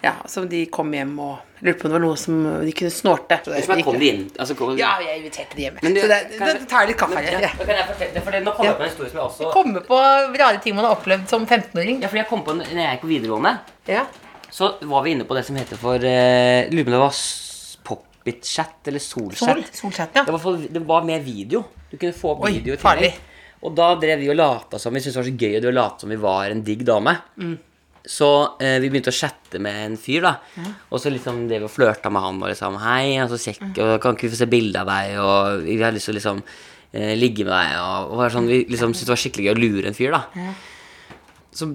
Speaker 1: Ja, Som de kom hjem og lurte på om det var noe som de kunne snorte. Så det
Speaker 2: Husk meg,
Speaker 1: gikk-
Speaker 2: kom de inn? Altså, kom,
Speaker 1: Ja, jeg inviterte de hjemme.
Speaker 2: Men du-
Speaker 1: så det,
Speaker 2: kan
Speaker 1: det,
Speaker 2: jeg-
Speaker 1: det tar litt kaffe
Speaker 2: Men, ja,
Speaker 1: her. Ja.
Speaker 2: kan jeg fortelle, for det- nå kom jeg på en historie som jeg også
Speaker 1: Komme på rare ting man har opplevd som 15-åring.
Speaker 2: Ja, fordi jeg kom på en- når jeg gikk på videregående.
Speaker 1: Ja.
Speaker 2: Så var vi inne på det som heter for eh, Lurer på om det var s- Poppit-chat eller
Speaker 1: Sol,
Speaker 2: Solchat.
Speaker 1: solchat,
Speaker 2: Det
Speaker 1: ja.
Speaker 2: var, for, det var med video. Du kunne få opp
Speaker 1: Oi,
Speaker 2: video. i tillegg.
Speaker 1: farlig.
Speaker 2: Og da drev vi og lata som vi syntes det var så gøy og det å late som vi var en digg dame.
Speaker 1: Mm.
Speaker 2: Så eh, vi begynte å chatte med en fyr, da. Og så liksom drev vi og flørta med han og liksom Hei, altså, sjekk,
Speaker 1: Mm.
Speaker 2: og kan ikke vi få se bilde av deg, og vi har lyst til å liksom eh, ligge med deg, og, og var sånn, vi liksom syntes det var skikkelig gøy å lure en fyr, da så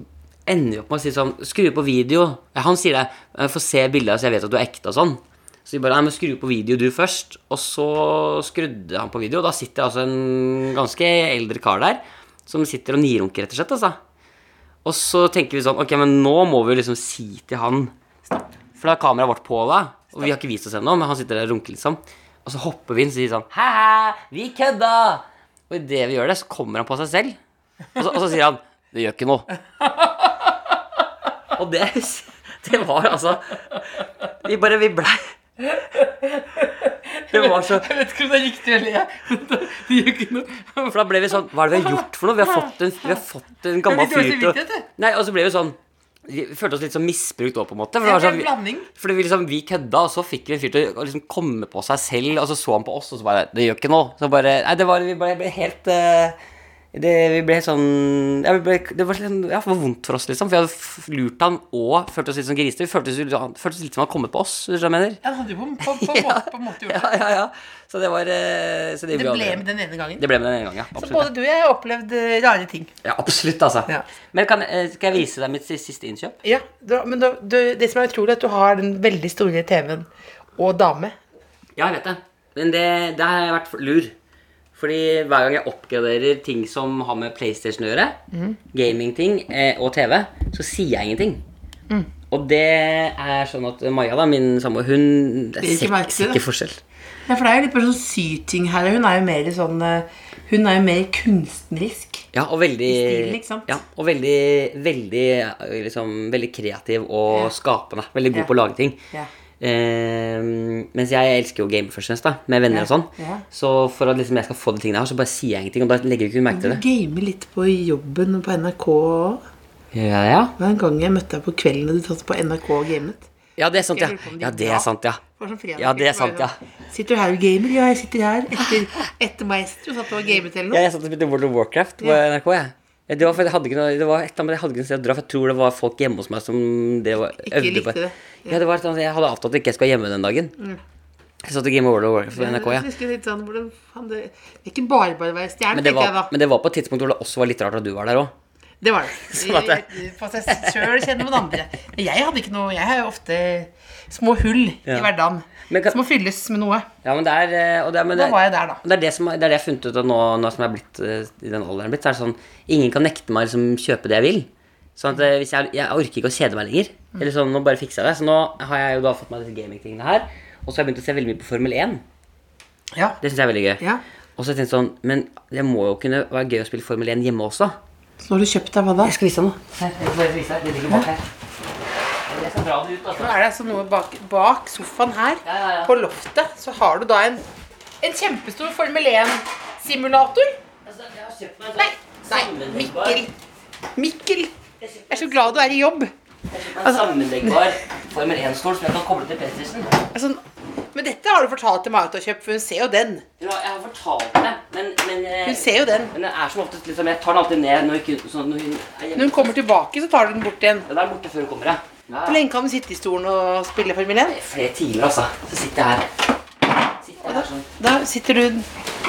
Speaker 2: ender vi opp med å si sånn Skru på video. Ja, han sier det. Jeg får se bildet, så jeg vet at du er ekte og sånn. Så vi bare Nei, men skru på video du først. Og så skrudde han på video, og da sitter altså en ganske eldre kar der som sitter og nirunker, rett og slett, altså. Og så tenker vi sånn Ok, men nå må vi liksom si til han For da er kameraet vårt på, da. Og vi har ikke vist oss ennå, men han sitter der og runker, liksom. Og så hopper vi inn og sier sånn Hæ, vi kødda! Og idet vi gjør det, så kommer han på seg selv. Og så, og så sier han Det gjør ikke noe. Og det, det var altså Vi bare Vi blei Det var så
Speaker 1: Jeg vet ikke om det er riktig eller jeg. Det gjør ikke noe.
Speaker 2: For da ble vi sånn Hva er det vi har gjort for noe? Vi har fått en, vi har fått en gammel
Speaker 1: Jeg blir
Speaker 2: fyr
Speaker 1: dårlig
Speaker 2: til å
Speaker 1: samvittighet, jeg.
Speaker 2: Nei, og så ble vi sånn vi følte oss litt sånn misbrukt òg, på en måte. For
Speaker 1: Det
Speaker 2: det var
Speaker 1: var en
Speaker 2: sånn,
Speaker 1: blanding.
Speaker 2: fordi vi, liksom, vi kødda, og så fikk vi en fyr til å liksom komme på seg selv, og så så han på oss, og så bare Det gjør ikke noe. Så bare Nei, det var Vi bare ble helt eh, det, vi ble helt sånn ja, vi ble, Det var sånn, ja, for vondt for oss, liksom. For vi hadde f- lurt han og følte oss litt som griser. Vi følte oss, han følte oss litt som han hadde kommet på oss. Hvis du skjønner hva jeg mener.
Speaker 1: Ja, det hadde jo på, på, på, en måte, på en måte gjort det.
Speaker 2: Ja, ja, ja. Så det var eh, så det,
Speaker 1: Det
Speaker 2: vi
Speaker 1: ble
Speaker 2: aldri-
Speaker 1: med den ene gangen.
Speaker 2: Det ble med den ene gangen, ja.
Speaker 1: Så
Speaker 2: Absolutt.
Speaker 1: både du og jeg har opplevd eh, rare ting.
Speaker 2: Ja, absolutt, altså.
Speaker 1: Ja.
Speaker 2: Men kan, eh, skal jeg vise deg mitt si- siste innkjøp?
Speaker 1: Ja, da- men da, du, det som er utrolig, er at du har den veldig store TV-en og dame.
Speaker 2: Ja, jeg vet det. Men det, det har jeg vært for- lur. Fordi hver gang jeg oppgraderer ting som har med PlayStation å gjøre,
Speaker 1: Mhm.
Speaker 2: gamingting eh, og TV, så sier jeg ingenting.
Speaker 1: Mm.
Speaker 2: Og det er sånn at Maja, da, min samboer, hun
Speaker 1: ikke
Speaker 2: ser
Speaker 1: merke til
Speaker 2: ser
Speaker 1: det.
Speaker 2: ikke forskjell.
Speaker 1: Ja, for det er jo litt bare sånn syting her. Hun er jo mer sånn eh, Hun er jo mer kunstnerisk.
Speaker 2: Ja, og veldig
Speaker 1: I stil, ikke sant?
Speaker 2: Ja, og veldig, veldig, eh, liksom, veldig kreativ og
Speaker 1: Ja.
Speaker 2: skapende. Veldig god
Speaker 1: Ja.
Speaker 2: på å lage ting.
Speaker 1: Ja.
Speaker 2: Eh, mens jeg elsker jo game først og fremst, da, med venner
Speaker 1: Ja.
Speaker 2: og sånn.
Speaker 1: Ja.
Speaker 2: Så for at liksom, jeg skal få de tingene her, så bare sier jeg ingenting. Og da legger ikke hun merke
Speaker 1: Du
Speaker 2: til det.
Speaker 1: gamer litt på jobben og på NRK òg.
Speaker 2: Ja, ja.
Speaker 1: Det var en gang jeg møtte deg på kvelden og du satt på NRK og gamet.
Speaker 2: ja, det er sant, ja.
Speaker 1: Jeg lurer på om de
Speaker 2: Ja, det
Speaker 1: drar.
Speaker 2: er sant, ja.
Speaker 1: Det var sånn fredag,
Speaker 2: Ja, det er
Speaker 1: så var
Speaker 2: sant, ja.
Speaker 1: sånn, Sitter du her og gamer? Ja, jeg sitter her. Etter, etter maestro satt du og gamet eller noe.
Speaker 2: Jeg satt og spilte World of Warcraft på NRK, jeg. Ja, Det var, for jeg hadde ikke noe, det var et eller annet, jeg hadde ikke noe sted å dra, for jeg tror det var folk hjemme hos meg som det var, øvde
Speaker 1: likte
Speaker 2: på.
Speaker 1: det. Mm.
Speaker 2: Ja, det var et eller annet, jeg hadde avtalt at jeg ikke skulle være hjemme den dagen. Jeg satt og gamet World of Warcraft på NRK, ja.
Speaker 1: Jeg husker litt sånn, hvordan faen det, det er ikke bare bare å være stjerne,
Speaker 2: Men det,
Speaker 1: tenker jeg
Speaker 2: var,
Speaker 1: da.
Speaker 2: men det var på et tidspunkt hvor det også var litt rart at du var der òg.
Speaker 1: Det var det.
Speaker 2: at det-
Speaker 1: I- På seg sjøl kjenner man andre. Men jeg hadde ikke noe Jeg har jo ofte små hull i
Speaker 2: Ja.
Speaker 1: hverdagen
Speaker 2: Men kan-
Speaker 1: som må fylles med noe.
Speaker 2: Ja, men det er, eh, og det, er- men det,
Speaker 1: Da var jeg der, da.
Speaker 2: og det er det, som, er- det er det jeg har funnet ut av nå, nå som jeg er blitt eh, i den alderen blitt. Så er det sånn, Ingen kan nekte meg å liksom, kjøpe det jeg vil. Sånn at eh, hvis jeg, jeg orker ikke å kjede meg lenger. Eller sånn, nå bare fikser jeg det. Så nå har jeg jo da fått meg disse gamingtingene her. Og så har jeg begynt å se veldig mye på Formel 1.
Speaker 1: Ja.
Speaker 2: Det syns jeg er veldig gøy.
Speaker 1: Ja.
Speaker 2: Og så har jeg tenkt sånn, men det må jo kunne være gøy å spille Formel 1 hjemme også.
Speaker 1: Så nå har du kjøpt deg hva da?
Speaker 2: Jeg skal vise deg noe. Her, jeg skal vise deg. Det ligger bak her. Jeg skal dra det ut,
Speaker 1: Nå
Speaker 2: altså.
Speaker 1: er det altså noe bak, bak sofaen her,
Speaker 2: ja, ja.
Speaker 1: på loftet, så har du da en, en kjempestor Formel 1-simulator.
Speaker 2: Altså, jeg har kjøpt meg en sånn
Speaker 1: Nei, nei,
Speaker 2: sammenleggbar-
Speaker 1: Mikkel. Mikkel, jeg er så glad du er i jobb.
Speaker 2: En sammenleggbar Formel 1-stol som jeg kan koble til PlayStation.
Speaker 1: Altså, men dette har du fortalt til Marit å kjøpe, for hun ser jo den.
Speaker 2: Jo, Jeg har fortalt det, men, men, eh,
Speaker 1: Hun ser jo den.
Speaker 2: men det er som oftest liksom, Jeg tar den alltid ned når, ikke, sånn, når hun er hjemme.
Speaker 1: Når hun kommer tilbake, så tar du den bort igjen.
Speaker 2: Den er borte før hun kommer, ja. ja.
Speaker 1: Hvor lenge kan du sitte i stolen og spille Formel 1?
Speaker 2: ja. Flere timer, altså. Så sitter jeg her. Sitter jeg her sånn.
Speaker 1: Da sitter du,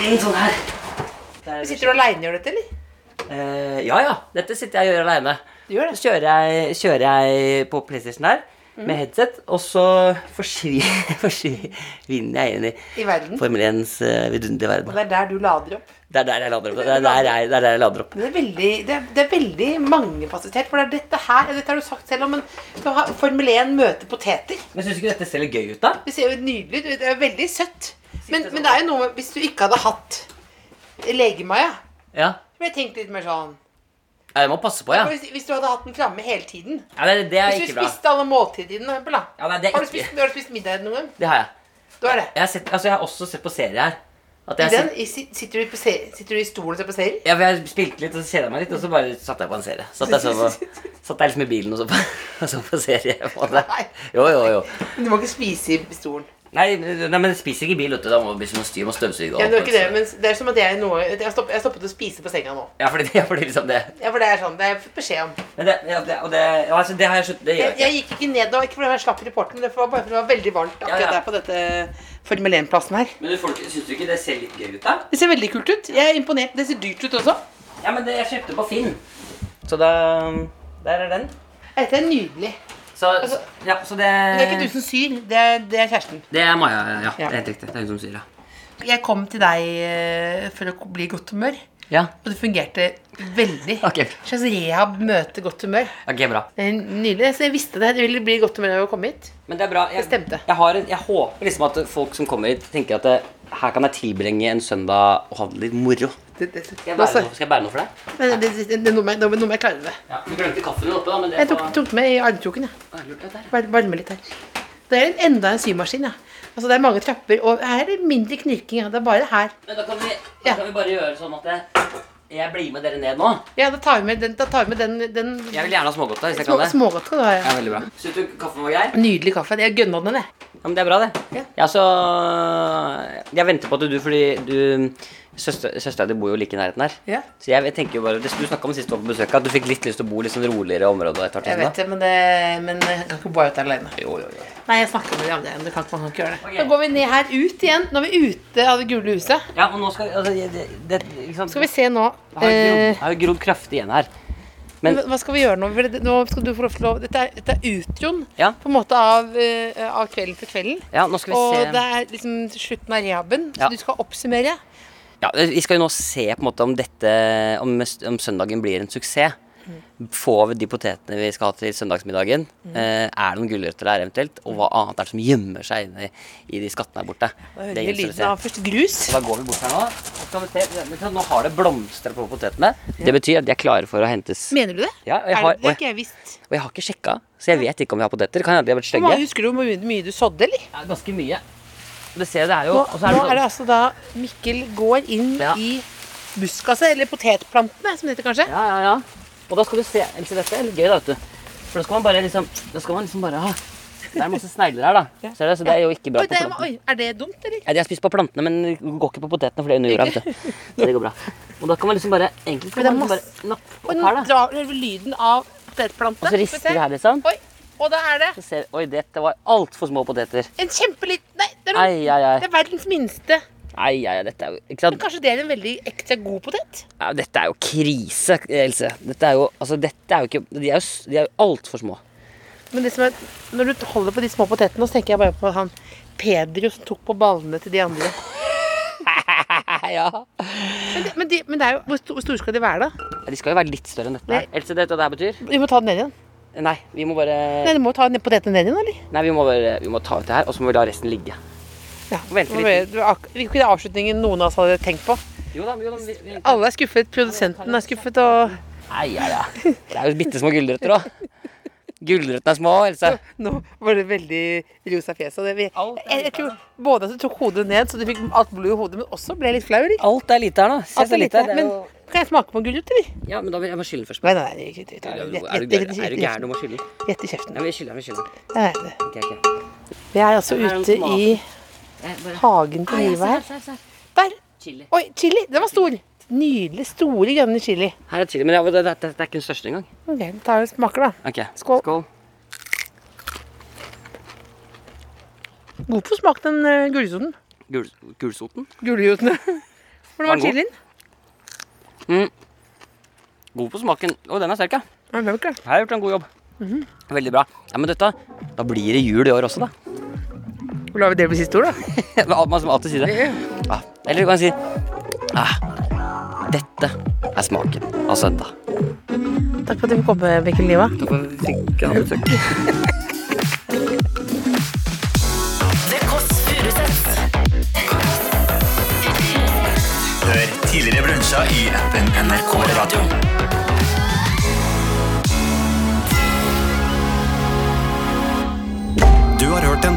Speaker 2: Inn sånn her. Der,
Speaker 1: sitter du alene og gjør dette, eller?
Speaker 2: Eh, ja, ja. Dette sitter jeg og gjør aleine.
Speaker 1: Du gjør det. Mhm.
Speaker 2: Så kjører jeg, kjører jeg på PlayStation her med headset, og så forsvinner, forsvinner jeg inn i,
Speaker 1: I verden.
Speaker 2: Formel 1s eh, vidunderlige verden.
Speaker 1: Og det er der du lader opp.
Speaker 2: Det er der jeg lader opp. Det er der jeg, det er der jeg lader opp.
Speaker 1: Men det er veldig, det er, det er veldig mangefasettert, for det er dette her, dette har du sagt selv om, men du har Formel 1 møter poteter.
Speaker 2: Men syns du ikke dette ser litt gøy ut, da?
Speaker 1: Det ser jo nydelig ut, det er veldig søtt. Men,
Speaker 2: sånn.
Speaker 1: men det er jo noe, med- hvis du ikke hadde hatt legemaja,
Speaker 2: Ja.
Speaker 1: så ville jeg tenkt litt mer sånn.
Speaker 2: ja jeg må passe på, ja.
Speaker 1: Hvis, hvis du hadde hatt den framme hele tiden.
Speaker 2: ja det, det er
Speaker 1: Hvis du
Speaker 2: ikke bra.
Speaker 1: spiste alle måltidene, for eksempel, da.
Speaker 2: Ja, nei, det
Speaker 1: Har
Speaker 2: er
Speaker 1: du spist,
Speaker 2: ikke
Speaker 1: har du spist middag noen gang?
Speaker 2: Det har jeg.
Speaker 1: Du har det.
Speaker 2: Jeg har, sett, altså, jeg har også sett på serier her. At
Speaker 1: I
Speaker 2: jeg, har
Speaker 1: den,
Speaker 2: sett,
Speaker 1: i, si- sitter, du på se- sitter du i stolen og ser på serier?
Speaker 2: ja, for jeg spilte litt, og så kjeda jeg meg litt, og så bare satte jeg på en serie. Satt jeg, så på, satt jeg liksom i bilen og så på, og så på serie. på en måte.
Speaker 1: Nei.
Speaker 2: Jo, jo, jo.
Speaker 1: Men Du må ikke spise i stolen.
Speaker 2: Nei, men- nei, men spiser ikke i bil, vet du. Da må det bli sånn styr med støvsuging.
Speaker 1: Ja, men det, er ikke det, men det er som at jeg nå Jeg har stopp- jeg har stoppet å spise på senga nå.
Speaker 2: Ja, fordi det, ja, fordi liksom det.
Speaker 1: Ja, for det er sånn, det har jeg fått beskjed om.
Speaker 2: Men det, ja, det, og det, ja, altså, det har jeg slutt, det gjør
Speaker 1: Jeg,
Speaker 2: jeg ikke.
Speaker 1: jeg gikk ikke ned nå, ikke fordi jeg slapp reporten, men det var bare fordi det var veldig varmt akkurat
Speaker 2: Ja, ja.
Speaker 1: der på dette Formel 1-plassen her.
Speaker 2: Men du, får ikke- syns du ikke det ser litt gøy ut, da?
Speaker 1: Det ser veldig kult ut. Jeg er imponert. Det ser dyrt ut også.
Speaker 2: Ja, men det, jeg kjøpte på Finn. Så da um, Der er den.
Speaker 1: Dette er nydelig.
Speaker 2: Så, ja, så det
Speaker 1: Men Altså, Det er ikke du som syr, det er, det er kjæresten.
Speaker 2: Det er Maja, ja.
Speaker 1: Ja.
Speaker 2: Det er helt riktig. Det er hun som sier det.
Speaker 1: Jeg kom til deg eh, for å bli i godt humør,
Speaker 2: Ja.
Speaker 1: og det fungerte veldig.
Speaker 2: Ok.
Speaker 1: Slags rehab møter godt humør.
Speaker 2: Ok, bra.
Speaker 1: Det er Nydelig. Så jeg visste det. Du ville bli i godt humør av å komme hit.
Speaker 2: Men det er bra. Jeg,
Speaker 1: Det stemte.
Speaker 2: Jeg, har en, jeg håper liksom at folk som kommer hit, tenker at det, her kan jeg tilbringe en søndag og ha det litt moro.
Speaker 1: Det, det, det,
Speaker 2: Skal jeg bære, noe, skal jeg bære noe for deg?
Speaker 1: det, det, det, det er noe med- noe med- noe med jeg klarer med.
Speaker 2: Ja, Du glemte kaffen din oppe, da. men det
Speaker 1: Jeg tok, tok den med i armkroken. jeg.
Speaker 2: Ah, lurt, det der.
Speaker 1: Var- Varme litt her. Det er en- enda en symaskin. Ja. Altså, det er mange trapper, og her er det mindre knirking. Ja. Det er bare her.
Speaker 2: Men da kan vi, da
Speaker 1: Ja.
Speaker 2: kan vi bare gjøre sånn at jeg, Jeg blir med dere ned nå.
Speaker 1: Ja, da tar vi med den. Da tar vi med den, den
Speaker 2: Jeg vil gjerne ha smågodta. hvis jeg
Speaker 1: små,
Speaker 2: kan det.
Speaker 1: smågodt skal du ha. Ja.
Speaker 2: Ja, veldig bra. Syns du kaffen var grei?
Speaker 1: Nydelig kaffe. Jeg gønna den, jeg.
Speaker 2: Ja, men Det er bra, det. Jeg, altså, jeg venter på at du Fordi du søster- Søstera di bor jo like i nærheten her.
Speaker 1: Ja.
Speaker 2: Så jeg tenker jo bare Det skulle du snakka om sist du var på besøk, at du fikk litt lyst til å bo i litt sånn roligere område. etter hvert
Speaker 1: Jeg
Speaker 2: og sånn
Speaker 1: vet det, men, det, men jeg kan ikke bare ut alene.
Speaker 2: da. Jo, jo, jo.
Speaker 1: Nei, jeg snakker med de andre. men Det kan ikke, man kan ikke gjøre det.
Speaker 2: Ok.
Speaker 1: Så går vi ned her ut igjen. Nå er vi ute av det gule huset.
Speaker 2: Ja, og nå skal vi altså, det, det, ikke sant?
Speaker 1: Skal vi se nå
Speaker 2: Det har jo grodd-
Speaker 1: eh,
Speaker 2: det har jo grodd kraftig igjen her. Men
Speaker 1: Hva skal vi gjøre nå? For det, nå skal du få lov til å Dette er, dette er utroen
Speaker 2: Ja.
Speaker 1: på en måte av, eh, av kvelden for kvelden.
Speaker 2: ja, nå skal vi
Speaker 1: Og det
Speaker 2: se
Speaker 1: er liksom slutten av rehaben, så
Speaker 2: Ja.
Speaker 1: du skal oppsummere.
Speaker 2: ja, eh, Vi skal jo nå se på en måte om dette Om, om søndagen blir en suksess.
Speaker 1: Mm.
Speaker 2: Får vi de potetene vi skal ha til søndagsmiddagen? Eh, er det noen gulrøtter der eventuelt? Og hva annet er det som gjemmer seg inne i, i de skattene her borte?
Speaker 1: Da
Speaker 2: Det
Speaker 1: hører vi
Speaker 2: gjenstår å
Speaker 1: lyden
Speaker 2: se.
Speaker 1: av først grus.
Speaker 2: Så da går vi bort her nå. Så kan vi se, vet du hva, nå har det blomstra på potetene. Det betyr at de er klare for å hentes.
Speaker 1: Mener du det?
Speaker 2: Ja, og jeg
Speaker 1: Er
Speaker 2: har,
Speaker 1: det, det
Speaker 2: og jeg,
Speaker 1: har ikke jeg visst.
Speaker 2: og jeg har ikke sjekka, så jeg vet ikke om vi har poteter. Kan hende de har blitt
Speaker 1: Hvor
Speaker 2: stygge.
Speaker 1: mange husker du hvor mye, mye du sådde, eller?
Speaker 2: Ja, ganske mye. Og Det ser jeg, det er jo
Speaker 1: Nå,
Speaker 2: og så er
Speaker 1: nå
Speaker 2: det, sånn-
Speaker 1: er det altså da Mikkel går inn
Speaker 2: Ja.
Speaker 1: i buskaset, eller potetplantene, som det heter kanskje.
Speaker 2: Ja, ja, ja. Og da skal du se eller, se, Dette er litt gøy, da, vet du. For da skal man bare liksom Da skal man liksom bare ha Det er masse snegler her, da. Ser du, så det er jo ikke bra
Speaker 1: Oi,
Speaker 2: på
Speaker 1: det,
Speaker 2: plantene.
Speaker 1: oi, er det dumt, eller?
Speaker 2: Ja, de har spist på plantene, men de går ikke på potetene, for det er under jorda. vet du. Så det går bra. Og da kan man liksom bare Egentlig
Speaker 1: Men det
Speaker 2: kan
Speaker 1: er
Speaker 2: man liksom
Speaker 1: masse-
Speaker 2: bare nappe
Speaker 1: Og
Speaker 2: opp
Speaker 1: nå
Speaker 2: her, da.
Speaker 1: drar du lyden av potetplantene.
Speaker 2: Og så
Speaker 1: Skal vi
Speaker 2: rister
Speaker 1: se.
Speaker 2: vi her, liksom.
Speaker 1: Oi, og da er det
Speaker 2: Så ser vi Oi, dette var altfor små poteter.
Speaker 1: en kjempeliten Nei, det er, noen,
Speaker 2: Ai, ai,
Speaker 1: det
Speaker 2: ai.
Speaker 1: er verdens minste.
Speaker 2: ai, ai, ai dette, er jo, ikke
Speaker 1: Men
Speaker 2: sant?
Speaker 1: kanskje det er en veldig ekstra god potet?
Speaker 2: Ja, dette er jo krise, Else. Dette er jo, altså, dette er jo ikke De er jo, s- de er jo altfor små.
Speaker 1: Men det som er, når du holder på de små potetene, så tenker jeg bare på han Pedro som tok på ballene til de andre.
Speaker 2: ja.
Speaker 1: Men, det- men, de, men det er jo, hvor sto- hvor store skal de være, da?
Speaker 2: De skal jo være litt større enn dette. her. Else, vet du hva det her betyr?
Speaker 1: Vi må ta den ned igjen.
Speaker 2: Nei, vi må bare
Speaker 1: Nei, du må ta ned potetene ned igjen, eller?
Speaker 2: Nei, vi må bare vi må ta ut det her, og så må vi la resten ligge.
Speaker 1: Ja.
Speaker 2: Vente
Speaker 1: Det
Speaker 2: litt.
Speaker 1: var- det var ak- det var ikke den avslutningen noen av oss hadde tenkt på.
Speaker 2: Jo da, jo da. Vi, vi.
Speaker 1: Alle er skuffet. Produsenten er skuffet, og
Speaker 2: Ai, ai, ai. Det er jo bitte små gulrøtter òg. Gulrøttene er små, Else.
Speaker 1: nå var det veldig rosa fjes. Og det, vi,
Speaker 2: Alt er
Speaker 1: jeg, jeg tror både at du tok hodet ned, så du fikk alt blodet i hodet, men også ble litt flau, eller?
Speaker 2: Alt er lite her nå. Se,
Speaker 1: Alt er
Speaker 2: så
Speaker 1: lite,
Speaker 2: det er
Speaker 1: men
Speaker 2: jo-
Speaker 1: kan jeg smake på en gulrot, eller?
Speaker 2: Ja, men da vil jeg må skylle først.
Speaker 1: Nei, nei, nei. ikke- ikke- ikke-
Speaker 2: Er du er du
Speaker 1: Gjett gjett-
Speaker 2: gæren? Er du
Speaker 1: gjett-
Speaker 2: gæren om å skylle?
Speaker 1: gjett i kjeften.
Speaker 2: Ja, vi skyller, vi skyller.
Speaker 1: Nei, nei, det-
Speaker 2: Ok, ok.
Speaker 1: Vi er altså
Speaker 2: Her er
Speaker 1: ute
Speaker 2: tomater.
Speaker 1: i Eh, hagen til livet her. Der!
Speaker 2: Chili.
Speaker 1: Oi, chili! Den var stor. Nydelig. Store, grønne chili.
Speaker 2: Her er chili, men ja, det, det, det er ikke den største engang.
Speaker 1: Ok, vi tar og smaker, da.
Speaker 2: Ok,
Speaker 1: Skål. God for smak, den uh, gulsoten.
Speaker 2: Gul, gulsoten.
Speaker 1: Gulrotene. Hvordan var
Speaker 2: den god?
Speaker 1: chilien?
Speaker 2: God på smaken. Å, den er sterk, ja.
Speaker 1: Ja, Den var ikke det.
Speaker 2: Her har jeg gjort en god jobb.
Speaker 1: Mhm.
Speaker 2: Veldig bra. Ja, men dette, da blir det jul i år også, da.
Speaker 1: La vi det bli siste ord, da?
Speaker 2: Alt- Man som alltid sier det. Ja. Eller du kan si ah, Dette er smaken av søndag.
Speaker 1: Takk for at du fikk komme, Mikkel Niva.
Speaker 5: The Kåss Furuseths.
Speaker 6: Hør tidligere brunsja i appen NRK Radio.
Speaker 7: Du har hørt en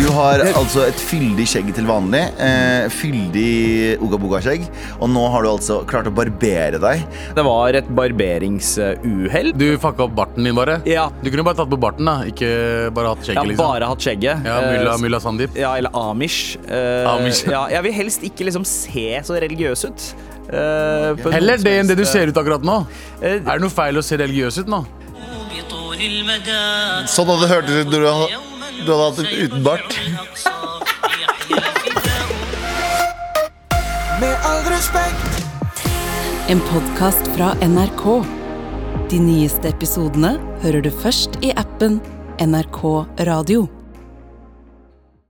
Speaker 8: Du har altså et fyldig skjegg til vanlig. Eh, fyldig ogaboga-skjegg. Og nå har du altså klart å barbere deg.
Speaker 9: Det var et barberingsuhell.
Speaker 10: Du fucka opp barten min, bare.
Speaker 9: Ja,
Speaker 10: Du kunne bare tatt på barten, da. Ikke bare hatt
Speaker 9: jeg
Speaker 10: skjegget,
Speaker 9: har
Speaker 10: liksom.
Speaker 9: bare hatt skjegget.
Speaker 10: Ja,
Speaker 9: Eh,
Speaker 10: mulla, mulla Sandeep.
Speaker 9: Ja, eller Amish. Eh,
Speaker 10: Amish.
Speaker 9: Ja, jeg vil helst ikke liksom se så religiøs ut. eh, på
Speaker 10: Heller
Speaker 9: noen
Speaker 10: det enn det du
Speaker 9: som helst,
Speaker 10: ser ut akkurat nå.
Speaker 9: eh,
Speaker 10: Er det noe feil å se religiøs ut nå?
Speaker 8: Sånn hadde det hørtes ut når du hadde, du hadde hatt det uten bart.
Speaker 3: En podkast fra NRK. De nyeste episodene hører du først i appen NRK Radio.